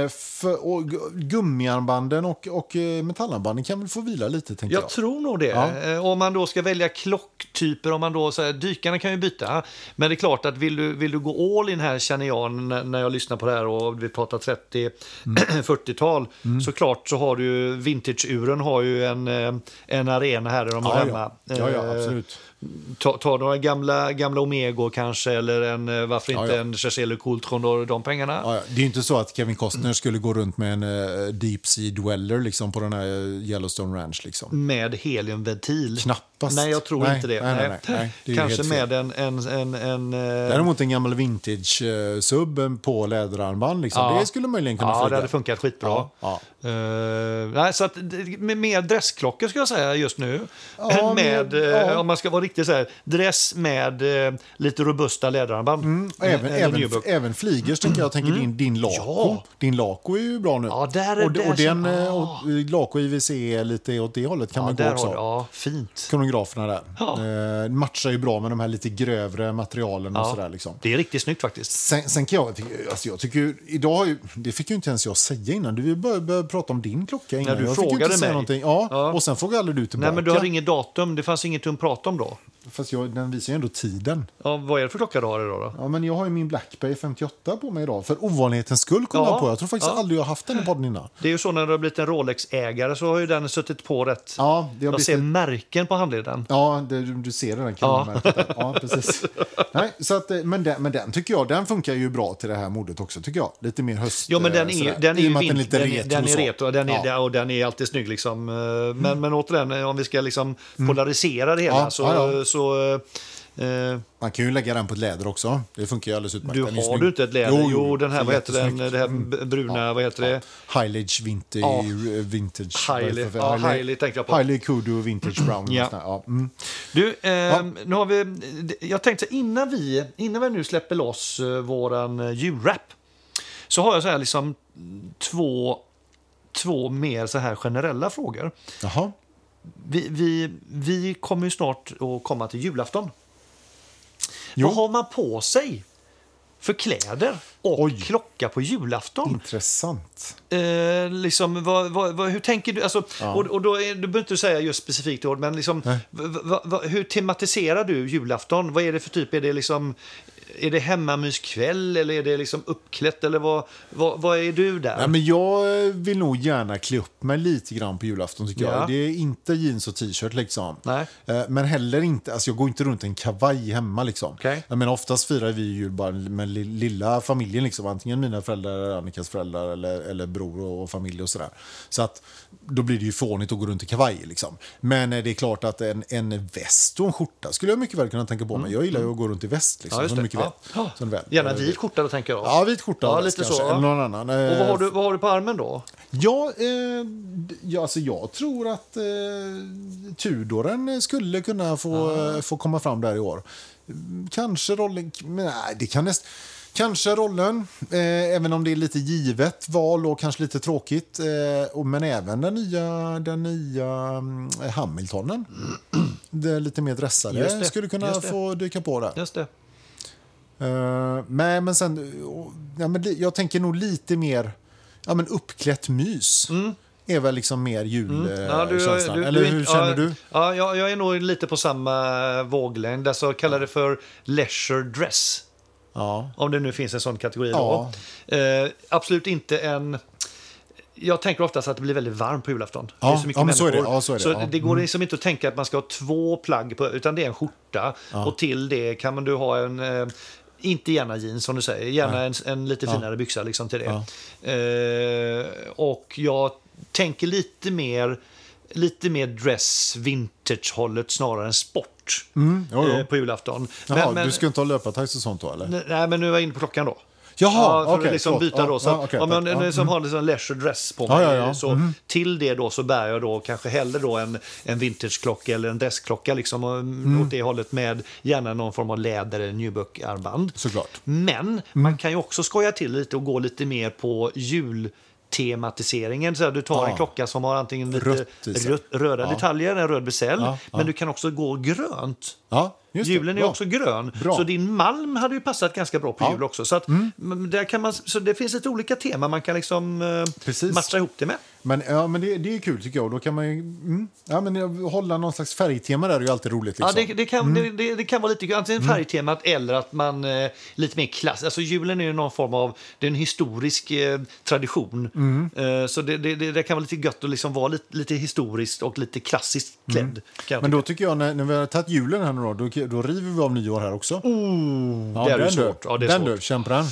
Speaker 2: Eh, för, och gu- gummiarmbanden och, och eh, metallarmbanden kan väl få vila lite, tänker jag.
Speaker 1: Jag tror nog det.
Speaker 2: Ja.
Speaker 1: Eh, Om man då ska välja klocktyper, om man då, så här, dykarna kan ju byta. Men det är klart att vill du, vill du gå all in här känner jag n- när jag lyssnar på det här och vi pratar 30,
Speaker 2: Mm.
Speaker 1: 40-tal. Såklart så har du ju, vintageuren har ju en, eh, en arena här där de har
Speaker 2: Ja,
Speaker 1: hemma.
Speaker 2: ja. ja, ja,
Speaker 1: Eh,
Speaker 2: absolut.
Speaker 1: Ta, ta några gamla, gamla Omegor kanske eller en, eh, varför inte
Speaker 2: ja.
Speaker 1: en Cherchez Le Coultron, då, de pengarna.
Speaker 2: Ja, ja. Det är ju inte så att Kevin Costner skulle gå runt med en eh, deep sea dweller liksom, på den här eh, Yellowstone Ranch. Liksom.
Speaker 1: med heliumventil.
Speaker 2: Knappast.
Speaker 1: Nej, jag tror
Speaker 2: Nej,
Speaker 1: inte det.
Speaker 2: nej, nej, nej, nej. Det är ju
Speaker 1: Kanske
Speaker 2: helt fel.
Speaker 1: med en... en, en, en eh,
Speaker 2: Däremot en gammal vintage-sub eh, på läderarmband. Liksom.
Speaker 1: Ja.
Speaker 2: Det skulle möjligen kunna
Speaker 1: Ja, det
Speaker 2: funka.
Speaker 1: hade funkat skitbra.
Speaker 2: Ja, ja.
Speaker 1: Eh, nej, så att, det- med mer dressklockor ska jag säga just nu.
Speaker 2: Ja,
Speaker 1: med,
Speaker 2: men-
Speaker 1: eh,
Speaker 2: ja.
Speaker 1: Om man ska vara riktigt så här, dress med eh, lite robusta läderarmband.
Speaker 2: Och Mm, Även,
Speaker 1: Eller
Speaker 2: även,
Speaker 1: Nubuck.
Speaker 2: även flygers, tänker jag. tänker din, din Laco.
Speaker 1: Ja.
Speaker 2: Din Laco är ju bra nu.
Speaker 1: Ja, där är-
Speaker 2: och,
Speaker 1: där
Speaker 2: och den,
Speaker 1: känner-
Speaker 2: eh, och, eh, Laco IWC är lite åt det hållet kan
Speaker 1: Ja,
Speaker 2: man gå
Speaker 1: där har
Speaker 2: också.
Speaker 1: du, ja, fint.
Speaker 2: Kronograferna där.
Speaker 1: Ja.
Speaker 2: Eh, matchar ju bra med de här lite grövre materialen och
Speaker 1: Ja,
Speaker 2: sådär. Liksom.
Speaker 1: Det är riktigt snyggt faktiskt.
Speaker 2: Sen, sen kan jag, alltså jag tycker ju, idag har ju, det fick ju inte ens jag säga innan. Du började, började prata om din klocka innan.
Speaker 1: När du
Speaker 2: jag fick ju
Speaker 1: frågade
Speaker 2: inte säga
Speaker 1: mig.
Speaker 2: någonting. Ja,
Speaker 1: Ja.
Speaker 2: och sen frågade aldrig du tillbaka.
Speaker 1: Nej, men du har inget datum. Det fanns inget att prata om då.
Speaker 2: Fast jag, den visar ju ändå tiden.
Speaker 1: Ja, vad är det för klocka du har idag då?
Speaker 2: Ja, men jag har ju min Blackberry 58 på mig idag. För ovanlighetens skull kom
Speaker 1: Ja.
Speaker 2: jag på. Jag tror faktiskt
Speaker 1: Ja.
Speaker 2: aldrig jag har haft den i podden innan.
Speaker 1: Det är ju så när du har blivit en Rolex-ägare så har ju den suttit på rätt.
Speaker 2: Ja, det har
Speaker 1: jag
Speaker 2: blivit
Speaker 1: ser
Speaker 2: lite-
Speaker 1: märken på handleden.
Speaker 2: Ja, det, du du ser det, den kanonmärket. Ja. ja, precis. Nej, så att, eh, men, den, men den tycker jag, den funkar ju bra till det här modet också tycker jag. Lite mer höst.
Speaker 1: Ja, men den
Speaker 2: eh,
Speaker 1: är, ju-
Speaker 2: sådär.
Speaker 1: den är
Speaker 2: I och
Speaker 1: ju
Speaker 2: med att den är
Speaker 1: vin-
Speaker 2: lite
Speaker 1: den
Speaker 2: retro.
Speaker 1: är- den är
Speaker 2: så.
Speaker 1: retro och den är,
Speaker 2: Ja. Mm.
Speaker 1: och den är alltid snygg. Liksom. Eh, Men, men återigen, om vi ska liksom polarisera det hela
Speaker 2: Ja,
Speaker 1: så...
Speaker 2: ja, ja.
Speaker 1: så eh,
Speaker 2: Man kan ju lägga den på ett läder också. Det funkar ju alldeles utmärkt.
Speaker 1: du
Speaker 2: Den är ju
Speaker 1: har
Speaker 2: snygg.
Speaker 1: du inte ett läder? Jo, den här,
Speaker 2: den är
Speaker 1: vad heter den,
Speaker 2: jättesnygg. Mm.
Speaker 1: det här b- bruna, vad heter det?
Speaker 2: Highledge vintage... eh,
Speaker 1: Ja.
Speaker 2: vintage
Speaker 1: Highly- ja, Highly tänkte jag på.
Speaker 2: Highly Kudu vintage brown.
Speaker 1: Ja.
Speaker 2: och sådär, ja. Mm.
Speaker 1: Du, eh, nu har vi, jag tänkte innan vi, innan vi nu släpper loss eh, våran eh, julrap så har jag så här liksom två, två mer så här generella frågor.
Speaker 2: Jaha.
Speaker 1: Vi, vi, vi kommer ju snart att komma till julafton.
Speaker 2: Jo.
Speaker 1: Vad har man på sig för kläder och
Speaker 2: Oj. Mm.
Speaker 1: klocka på julafton?
Speaker 2: Intressant.
Speaker 1: Eh, liksom, vad, vad, vad, hur tänker du? Alltså, och, och då, är, då behöver inte du säga just specifikt ord, men liksom,
Speaker 2: Nej.
Speaker 1: v, v, v, hur tematiserar du julafton? Vad är det för typ? Är det, liksom, är det hemmamyskväll eller är det liksom uppklätt? Eller vad, vad, vad är du där?
Speaker 2: Nej, men jag eh, vill nog gärna klä upp mig lite grann på julafton. tycker
Speaker 1: Ja.
Speaker 2: jag. Det är inte jeans och t-shirt. liksom.
Speaker 1: Nej.
Speaker 2: Eh, Men heller inte, alltså jag går inte runt i en kavaj hemma. Liksom.
Speaker 1: Okej.
Speaker 2: Jag menar, oftast firar vi jul bara med li- lilla familjen. Liksom. Antingen mina föräldrar, eller Annikas föräldrar eller, eller bror och och familj. och sådär. Så att, Då blir det ju fånigt att gå runt i kavaj. Liksom. Men eh, det är klart att en, en väst och en skjorta skulle jag mycket väl kunna tänka på mig. Jag gillar ju att gå runt i väst. Liksom,
Speaker 1: Mm. Ja, just det. Ja.
Speaker 2: som du mycket väl, som du väl.
Speaker 1: Gärna
Speaker 2: eh,
Speaker 1: vit skjorta, då tänker jag.
Speaker 2: Ja, vit skörta
Speaker 1: Ja,
Speaker 2: och
Speaker 1: lite
Speaker 2: väst
Speaker 1: så,
Speaker 2: kanske,
Speaker 1: va?
Speaker 2: Eller någon annan.
Speaker 1: Och vad har,
Speaker 2: Eh,
Speaker 1: du, vad har du på armen då?
Speaker 2: Ja, eh, d- ja alltså jag tror att eh, Tudoren skulle kunna få,
Speaker 1: Ah.
Speaker 2: eh, få komma fram där i år. Mm, Kanske rollen... k- Men nej, det kan näst, Kanske rollen, eh, även om det är lite givet val och kanske lite tråkigt. Eh, och, men även den nya, den nya mm, Hamiltonen. Det är lite mer
Speaker 1: Just
Speaker 2: dressade
Speaker 1: det,
Speaker 2: skulle kunna
Speaker 1: just det.
Speaker 2: få dyka på där.
Speaker 1: Just det.
Speaker 2: Eh, nej, men sen... och- nej, men li- jag tänker nog lite mer ja, men uppklätt mys. är väl liksom mer
Speaker 1: Mm. Ja, du-
Speaker 2: julkänslan.
Speaker 1: du-
Speaker 2: Eller
Speaker 1: du-
Speaker 2: hur
Speaker 1: ja,
Speaker 2: känner du?
Speaker 1: Ja, jag, jag är nog lite på samma våglängd. Alltså, kallar det för leisure dress.
Speaker 2: Ja.
Speaker 1: Om det nu finns en sån kategori.
Speaker 2: Ja.
Speaker 1: Då. Eh, absolut inte en... Jag tänker oftast att det blir väldigt varmt på julafton. det
Speaker 2: Ja,
Speaker 1: är så mycket
Speaker 2: ja, men så
Speaker 1: människor.
Speaker 2: är det. Ja, så är det. Ja. Mm.
Speaker 1: går liksom inte att tänka att man ska ha två plagg på, utan det är en skjorta. Och till det kan man du ha en... Eh, inte gärna jeans som du säger, gärna en, en lite finare byxa liksom till det. Eh, och jag tänker lite mer, lite mer dress vintage-hållet snarare än sport
Speaker 2: Mm, jo, jo.
Speaker 1: eh, på julafton.
Speaker 2: Jaha, du ska inte ha löpartajs och sånt då eller?
Speaker 1: Nej, Nej, men nu är jag inne på klockan då.
Speaker 2: Jaha,
Speaker 1: ja, för att
Speaker 2: okej,
Speaker 1: liksom
Speaker 2: förlåt.
Speaker 1: byta då.
Speaker 2: Ja,
Speaker 1: Så
Speaker 2: ja,
Speaker 1: att-
Speaker 2: okej,
Speaker 1: om jag
Speaker 2: tack.
Speaker 1: nu
Speaker 2: Ja, mm.
Speaker 1: som har liksom leisure dress på
Speaker 2: Ja,
Speaker 1: mig,
Speaker 2: ja, ja. Mm-hmm.
Speaker 1: så till det då så bär jag då kanske hellre då en, en vintageklocka eller en dressklocka liksom, och,
Speaker 2: Mm.
Speaker 1: åt det hållet med gärna någon form av läder eller nubuck-armband.
Speaker 2: Såklart.
Speaker 1: Men
Speaker 2: Mm.
Speaker 1: man kan ju också skoja till lite och gå lite mer på jultematiseringen. Så här, du tar
Speaker 2: Ja.
Speaker 1: en klocka som har antingen lite
Speaker 2: Rött i sig.
Speaker 1: rött- röda detaljer, en röd bezel,
Speaker 2: Ja, ja.
Speaker 1: men du kan också gå grönt.
Speaker 2: Ja, just det.
Speaker 1: Julen är
Speaker 2: Bra.
Speaker 1: också grön,
Speaker 2: Bra.
Speaker 1: så din malm hade ju passat ganska bra på jul också. Så, att, men där kan man, så det finns lite olika teman man kan liksom eh,
Speaker 2: Precis.
Speaker 1: matcha ihop det med.
Speaker 2: Men, ja, men det, det är kul tycker jag. Och Då kan man ju, mm, ja, men, jag- hålla någon slags färgtema där är ju alltid roligt. Liksom.
Speaker 1: Ja, det, det, kan, det, det, det kan vara lite kul. antingen färgtemat eller att man eh, lite mer klass. Alltså julen är ju någon form av, det är en historisk eh, tradition. Eh, så det, det, det, det kan vara lite gött att liksom vara lite, lite historiskt och lite klassiskt klädd. Kan jag
Speaker 2: Men
Speaker 1: tycka.
Speaker 2: då tycker jag, när, när vi har tagit julen här nu då, då, då river vi av nyår här också. ja,
Speaker 1: det är
Speaker 2: den
Speaker 1: ju svårt.
Speaker 2: Du,
Speaker 1: Ja, det är
Speaker 2: den
Speaker 1: svårt.
Speaker 2: du, kämpa den.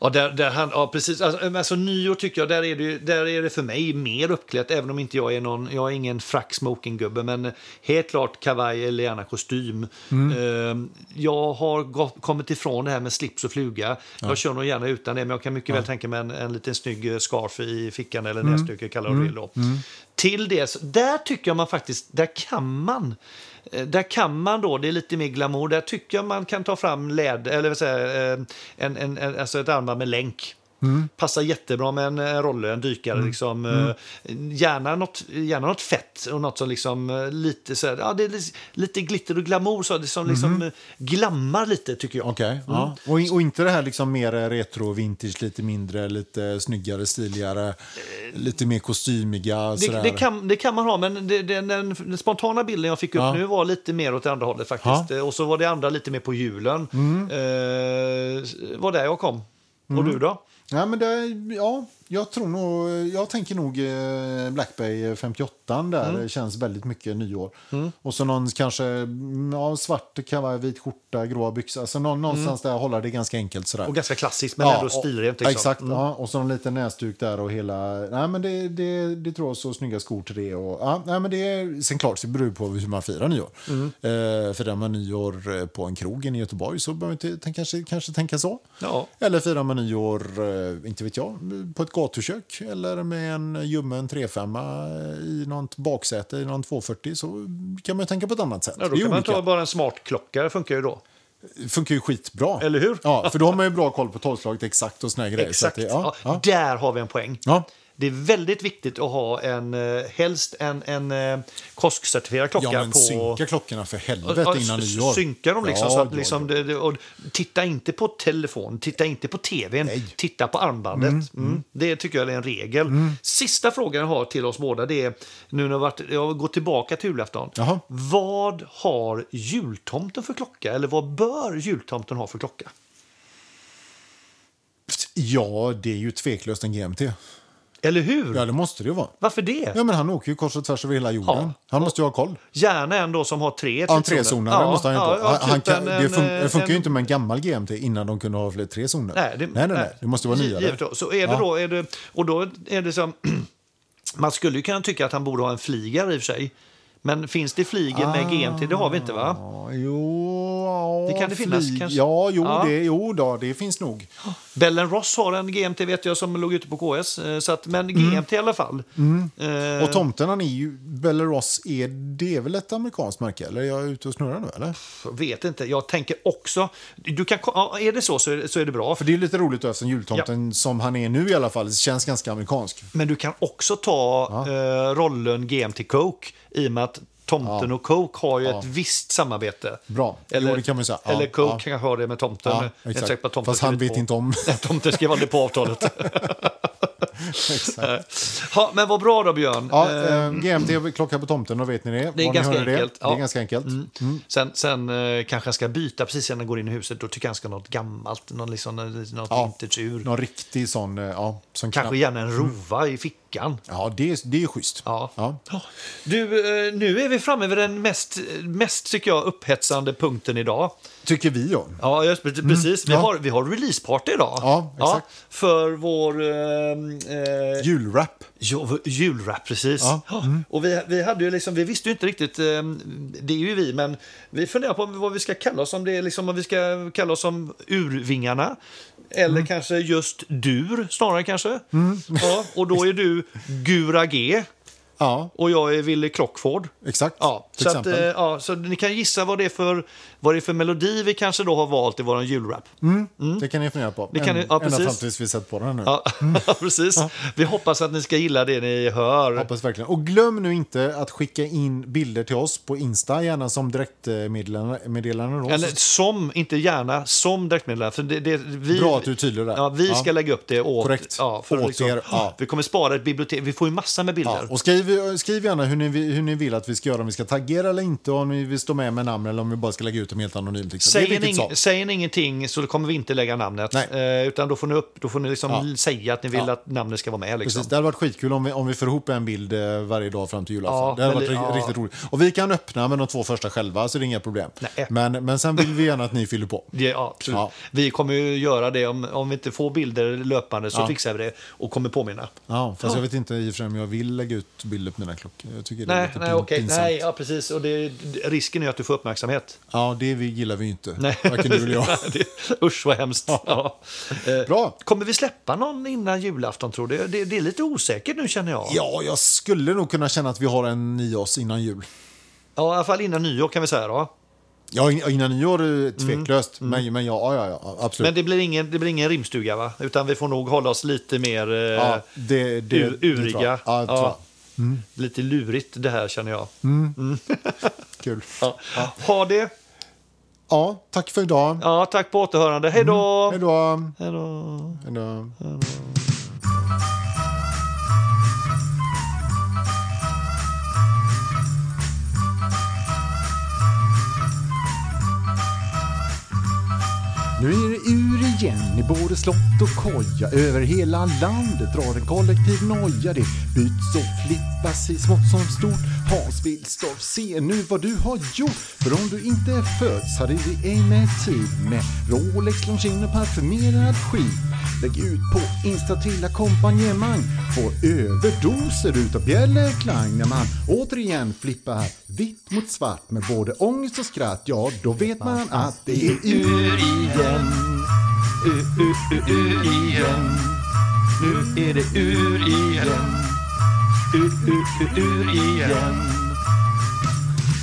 Speaker 1: Ja, där, där han, ja precis. Alltså, men alltså, nyår tycker jag, där är, det, ju- där är det för mig mer uppklätt. Även om inte jag är någon, jag är ingen frack smoking-gubbe. Men helt klart kavaj eller gärna kostym. Ehm, jag har gått, kommit ifrån det här med slips och fluga. Jag kör nog gärna utan det, men jag kan mycket väl tänka mig en, en liten snygg eh, scarf i fickan eller näsduk, kallar det då. Till det, så- där tycker jag man faktiskt, där kan man. Eh, Där kan man då, det är lite mer glamour, där tycker jag man kan ta fram läd, eller vad säger, jag, eh, en, en, en, alltså ett armband med länk.
Speaker 2: Mm.
Speaker 1: Passar jättebra med en eh, rolle, en dykare. Liksom, eh, Gärna, något, gärna något fett och något som liksom, eh, lite, så här, ja, det är li- lite glitter och glamour. Så, det som
Speaker 2: Mm.
Speaker 1: liksom, eh, glammar lite tycker jag.
Speaker 2: Okej. ja. och, in- och inte det här liksom mer retro-vintage, lite mindre, lite snyggare, stiligare, lite mer kostymiga.
Speaker 1: Eh, Det,
Speaker 2: sådär.
Speaker 1: det, kan, det kan man ha, men det, det, den, den spontana bilden jag fick upp
Speaker 2: Ja.
Speaker 1: nu var lite mer åt det andra hållet faktiskt. Eh, Och så var det andra lite mer på julen.
Speaker 2: Mm.
Speaker 1: Eh, var där jag kom. Och du då?
Speaker 2: Ja, men det, ja, jag tror nog, jag tänker nog eh, Black Bay 58 där.
Speaker 1: Mm.
Speaker 2: Det känns väldigt mycket nyår. Och så någon kanske mm, ja, svart kavaj, vit skjorta, gråa byxor. Alltså någon, någonstans där håller det ganska enkelt sådär.
Speaker 1: Mm. Och ganska klassiskt, men ändå
Speaker 2: och-
Speaker 1: stilrent. Liksom.
Speaker 2: Exakt, ja, och så en liten näsduk där och hela... Nej, men det, det, det tror jag så snygga skor till det. Och, ja, nej, men det är, sen klart, det beror på hur man firar nyår.
Speaker 1: Mm.
Speaker 2: Eh, firar man nyår eh, på en krogen i Göteborg så behöver man inte tänka, kanske, kanske tänka så.
Speaker 1: Ja.
Speaker 2: Eller firar man nyår, eh, inte vet jag, på ett gatukök eller med en ljummen 35 i något baksäte i någon 240 så kan man tänka på ett annat sätt.
Speaker 1: Ja, då
Speaker 2: Det är
Speaker 1: kan man
Speaker 2: olika.
Speaker 1: ta bara en smart klocka, det funkar ju då.
Speaker 2: Det funkar ju skitbra.
Speaker 1: Eller hur?
Speaker 2: Ja, för då har man ju bra koll på tolvslaget exakt och såna här grejer. Så att
Speaker 1: Exakt.
Speaker 2: det- ja, ja.
Speaker 1: Där har vi en poäng.
Speaker 2: Ja.
Speaker 1: Det är väldigt viktigt att ha en, eh, helst en, en eh, KOSK-certifierad klocka.
Speaker 2: Ja, men
Speaker 1: på...
Speaker 2: synka klockorna för helvete
Speaker 1: Ja,
Speaker 2: innan
Speaker 1: s-
Speaker 2: nyår.
Speaker 1: Synka dem liksom.
Speaker 2: Ja,
Speaker 1: så att,
Speaker 2: ja,
Speaker 1: liksom
Speaker 2: ja.
Speaker 1: Det, det, och titta inte på telefon, titta inte på tvn,
Speaker 2: Nej. Mm.
Speaker 1: titta på armbandet. Mm, Det tycker jag är en regel. Sista frågan jag har till oss båda det är, nu när jag, varit, jag går tillbaka till julafton.
Speaker 2: Jaha.
Speaker 1: Vad har jultomten för klocka? Eller vad bör jultomten ha för klocka?
Speaker 2: Ja, det är ju tveklöst en GMT.
Speaker 1: Eller hur?
Speaker 2: Ja, det måste det ju vara.
Speaker 1: Varför det?
Speaker 2: Ja, men han åker ju kors och tvärs över hela jorden.
Speaker 1: Ja.
Speaker 2: Han måste ju ha koll.
Speaker 1: Gärna en då som har tre
Speaker 2: Ja, en
Speaker 1: trizoner.
Speaker 2: trezonare måste han ju inte
Speaker 1: ja,
Speaker 2: ha.
Speaker 1: ja,
Speaker 2: Han- han
Speaker 1: typ
Speaker 2: kan,
Speaker 1: en-
Speaker 2: det, fun
Speaker 1: en-
Speaker 2: det funkar ju
Speaker 1: en-
Speaker 2: inte med en gammal GMT innan de kunde ha fler tre zoner.
Speaker 1: Nej, det,
Speaker 2: nej, nej, nej. Det måste vara
Speaker 1: Gi-
Speaker 2: nyare.
Speaker 1: givet då. Så är det
Speaker 2: Ja.
Speaker 1: då, är det, och då är det som... Man skulle ju kunna tycka att han borde ha en flygare i och för sig. Men finns det flyger
Speaker 2: Ah.
Speaker 1: med GMT? Det har vi inte va?
Speaker 2: Ja, Jo, ja,
Speaker 1: Det kan det finnas, kanske.
Speaker 2: Ja, jo,
Speaker 1: Ja.
Speaker 2: Det, jo då, det finns nog.
Speaker 1: Bell Ross har en GMT vet jag som låg ute på KS. eh, Så att, men GMT i alla fall.
Speaker 2: Mm.
Speaker 1: Eh,
Speaker 2: Och tomten han är ju, Belleross, är det väl ett amerikanskt märke? Eller är jag ute och snurrar nu eller?
Speaker 1: vet inte, jag tänker också... Du kan, ko- ja, är det så så är det, så är det bra.
Speaker 2: För det är lite roligt då, eftersom jultomten som han är nu i alla fall känns ganska amerikansk.
Speaker 1: Men du kan också ta eh, rollen GMT Coke i och med att Tomten och Coke har ju ett visst samarbete.
Speaker 2: Bra. Jo, det kan man ju säga. Ja,
Speaker 1: eller Coke
Speaker 2: ja.
Speaker 1: kanske har det med Tomten.
Speaker 2: Ja,
Speaker 1: Jag är inte
Speaker 2: exakt.
Speaker 1: säker på att tomten
Speaker 2: Fast han
Speaker 1: skrivit
Speaker 2: vet
Speaker 1: på.
Speaker 2: inte om.
Speaker 1: Nej, tomten skrev aldrig på avtalet. ja, men vad bra då, Björn.
Speaker 2: Ja,
Speaker 1: Eh,
Speaker 2: eh, GMT, klocka på tomten, då vet ni det.
Speaker 1: det är
Speaker 2: Var ni
Speaker 1: ganska
Speaker 2: hörde det.
Speaker 1: enkelt.
Speaker 2: Det
Speaker 1: Ja. Mm.
Speaker 2: är ganska enkelt.
Speaker 1: Sen, sen eh, kanske han ska byta precis innan han går in i huset. Då tycker jag han ska ha något gammalt, någon, liksom, något
Speaker 2: Ja.
Speaker 1: vintageur.
Speaker 2: Någon riktig sån, eh, ja. Som
Speaker 1: Kanske
Speaker 2: knapp-
Speaker 1: gärna en rova i fickan.
Speaker 2: Ja, det, är- det är ju schysst.
Speaker 1: Ja.
Speaker 2: Ja.
Speaker 1: Du, eh, nu är vi framme vid den mest, mest tycker jag, upphetsande punkten idag. Mm,
Speaker 2: Tycker vi ja.
Speaker 1: Ja, just, pre- precis. Vi,
Speaker 2: ja.
Speaker 1: Har, vi har releaseparty idag.
Speaker 2: Ja, exakt.
Speaker 1: för vår ehm, eh,
Speaker 2: Julrap.
Speaker 1: Ja, v- julrap, precis.
Speaker 2: Ja,
Speaker 1: Ja. mm. Och vi, vi, hade ju liksom, vi visste ju inte riktigt, eh, det är ju vi, men vi funderar på vad vi ska kalla oss om det är liksom, om vi ska kalla oss som urvingarna. Eller kanske just dur, snarare kanske. Ja, och då är du Gura G
Speaker 2: Ja,
Speaker 1: och jag är Wille Crockford.
Speaker 2: exakt.
Speaker 1: Ja,
Speaker 2: Till
Speaker 1: så, att,
Speaker 2: exempel.
Speaker 1: eh, ja, så ni kan gissa vad det, är för, vad det är för melodi vi kanske då har valt i vår julrap.
Speaker 2: Mm. Det kan ni fundera på.
Speaker 1: mm. Det kan ni- ja,
Speaker 2: ända
Speaker 1: precis.
Speaker 2: fram tills vi sett på den nu.
Speaker 1: Ja, precis. Vi hoppas att ni ska gilla det ni hör.
Speaker 2: Hoppas verkligen. Och glöm nu inte att skicka in bilder till oss på Insta, gärna som direktmeddelande.
Speaker 1: Eller som, inte gärna, som direktmeddelande. För det, det, vi,
Speaker 2: Bra att du är tydlig där.
Speaker 1: Ja, vi
Speaker 2: Ja.
Speaker 1: ska lägga upp det åt,
Speaker 2: Korrekt.
Speaker 1: Ja, för
Speaker 2: Åt
Speaker 1: att liksom,
Speaker 2: er, ja.
Speaker 1: Vi kommer spara ett bibliotek. Vi får ju massa med bilder.
Speaker 2: Ja, och skriv, skriv gärna hur ni, vi- hur ni vill att vi ska göra, om vi ska taggera eller inte, om vi vill stå med med namn eller om vi bara ska lägga ut dem helt anonymt. liksom. det är
Speaker 1: Säger ni,
Speaker 2: vilket sak.
Speaker 1: säger ni ingenting så kommer vi inte lägga namnet.
Speaker 2: Nej.
Speaker 1: Eh, utan då får ni, upp, då får ni liksom
Speaker 2: Ja.
Speaker 1: säga att ni vill
Speaker 2: Ja.
Speaker 1: att namnet ska vara med. Liksom.
Speaker 2: Precis, det hade varit skitkul om vi, om vi får ihop en bild eh, varje dag fram till julafton.
Speaker 1: Ja,
Speaker 2: det hade
Speaker 1: men
Speaker 2: varit
Speaker 1: det-
Speaker 2: ri-
Speaker 1: ja.
Speaker 2: riktigt roligt. Och vi kan öppna med de två första själva, så det är inga problem.
Speaker 1: Nej.
Speaker 2: Men, men sen vill vi gärna att ni fyller på.
Speaker 1: Ja, Ja, absolut.
Speaker 2: Ja.
Speaker 1: Vi kommer ju göra det. Om, om vi inte får bilder löpande så
Speaker 2: Ja.
Speaker 1: fixar vi det och kommer påminna.
Speaker 2: Ja, fast jag vet inte i och för sig om jag vill lägga ut bilder på mina klockor. Jag tycker det är
Speaker 1: Nej,
Speaker 2: lite
Speaker 1: nej,
Speaker 2: pin-
Speaker 1: okej.
Speaker 2: pinsamt.
Speaker 1: nej ja, precis. Och det, risken är att du får uppmärksamhet.
Speaker 2: Ja, det vi- gillar vi ju inte.
Speaker 1: Nej.
Speaker 2: Varken du eller jag.
Speaker 1: det, usch vad hemskt. Ja. Eh,
Speaker 2: Bra.
Speaker 1: Kommer vi släppa någon innan julafton tror du? Det, det är lite osäkert nu känner jag.
Speaker 2: Ja, jag skulle nog kunna känna att vi har en i oss innan jul.
Speaker 1: Ja, I alla fall innan nyår kan vi säga då.
Speaker 2: Ja, in- innan nyår eh,
Speaker 1: Mm.
Speaker 2: tveklöst. Men, men ja, ja, ja, absolut.
Speaker 1: Men det blir, ingen, det blir ingen rimstuga, va? Utan vi får nog hålla oss lite mer eh,
Speaker 2: ja, det, det,
Speaker 1: ur,
Speaker 2: det tror jag.
Speaker 1: uriga.
Speaker 2: Ja, det tror jag. Mm.
Speaker 1: Lite lurigt det här, känner jag.
Speaker 2: Kul.
Speaker 1: Ja. Ha det!
Speaker 2: Ja, tack för idag.
Speaker 1: Ja, tack på återhörande. Hej då!
Speaker 2: Hej då.
Speaker 1: Mm. Hej då!
Speaker 2: Hej då.
Speaker 3: Nu är det ur igen i både slott och koja. Över hela landet drar en kollektiv noja. Det byts och flippas i smått som stort. Hans Wilstorff, se nu vad du har gjort. För om du inte föds hade vi ej med tid med Rolex, Longines och parfymerad skit. Lägg ut på Insta till ackompanjemang. Får överdoser utav bjällerklang när man återigen flippar vitt mot svart med både ångest och skratt. Ja, då vet man att det är ur
Speaker 1: Ur igen, ur, ur, ur, ur igen. Nu är det ur igen, ur, ur, ur, ur igen.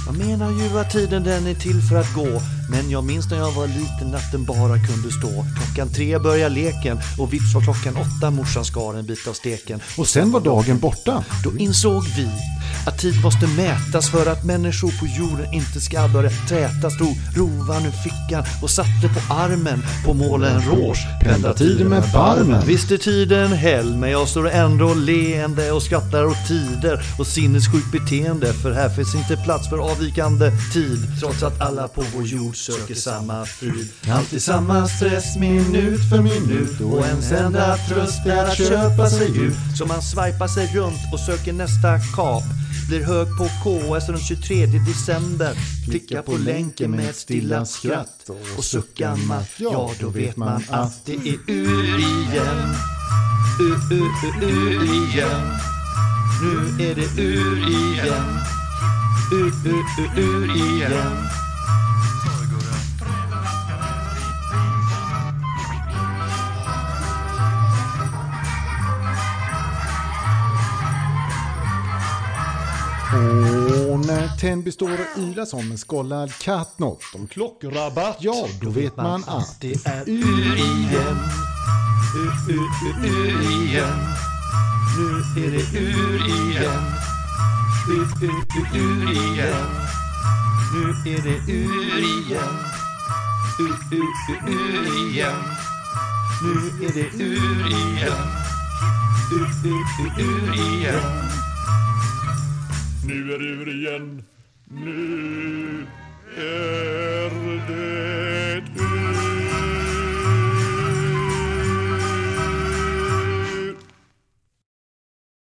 Speaker 1: Jag menar ju att tiden den är till för att gå Men jag minns när jag var liten att den bara kunde stå Klockan tre börjar leken och vips var klockan åtta morsan skar en bit av steken
Speaker 3: Och sen var dagen borta.
Speaker 1: Då insåg vi att tid måste mätas för att människor på jorden inte ska börja trätas. Drog rovan ur fickan och satte på armen på målen rouge. Pendlar
Speaker 3: tiden med barmen.
Speaker 1: Visst är tiden häll, men jag står ändå leende och skrattar åt tider och sinnessjukt beteende. För här finns inte plats för avvikande tid. Trots att alla på vår jord söker samma frid. Alltid samma stress minut för minut och ens enda tröst är att köpa sig ut. Så man swipar sig runt och söker nästa kap. Blir hög på KS den 23 december. Klicka på länken med ett stilla skratt. Och suckar man, ja då vet man att det är ur igen. Ur, ur, ur, ur igen. Nu är det ur igen. Ur, ur, ur, ur igen.
Speaker 3: Och när Tännby står och ylar som en skållad katt något om
Speaker 2: Klockrabatt.
Speaker 3: Ja, då vet man att
Speaker 1: Det är ur igen. Ur, ur, ur, ur igen. Nu är det ur igen. Ur, ur, ur, ur igen. Nu är det ur igen. Ur, ur, ur, ur igen. Nu är det ur igen. Ur, ur, ur, ur igen.
Speaker 4: Nu är det ur igen. Nu är det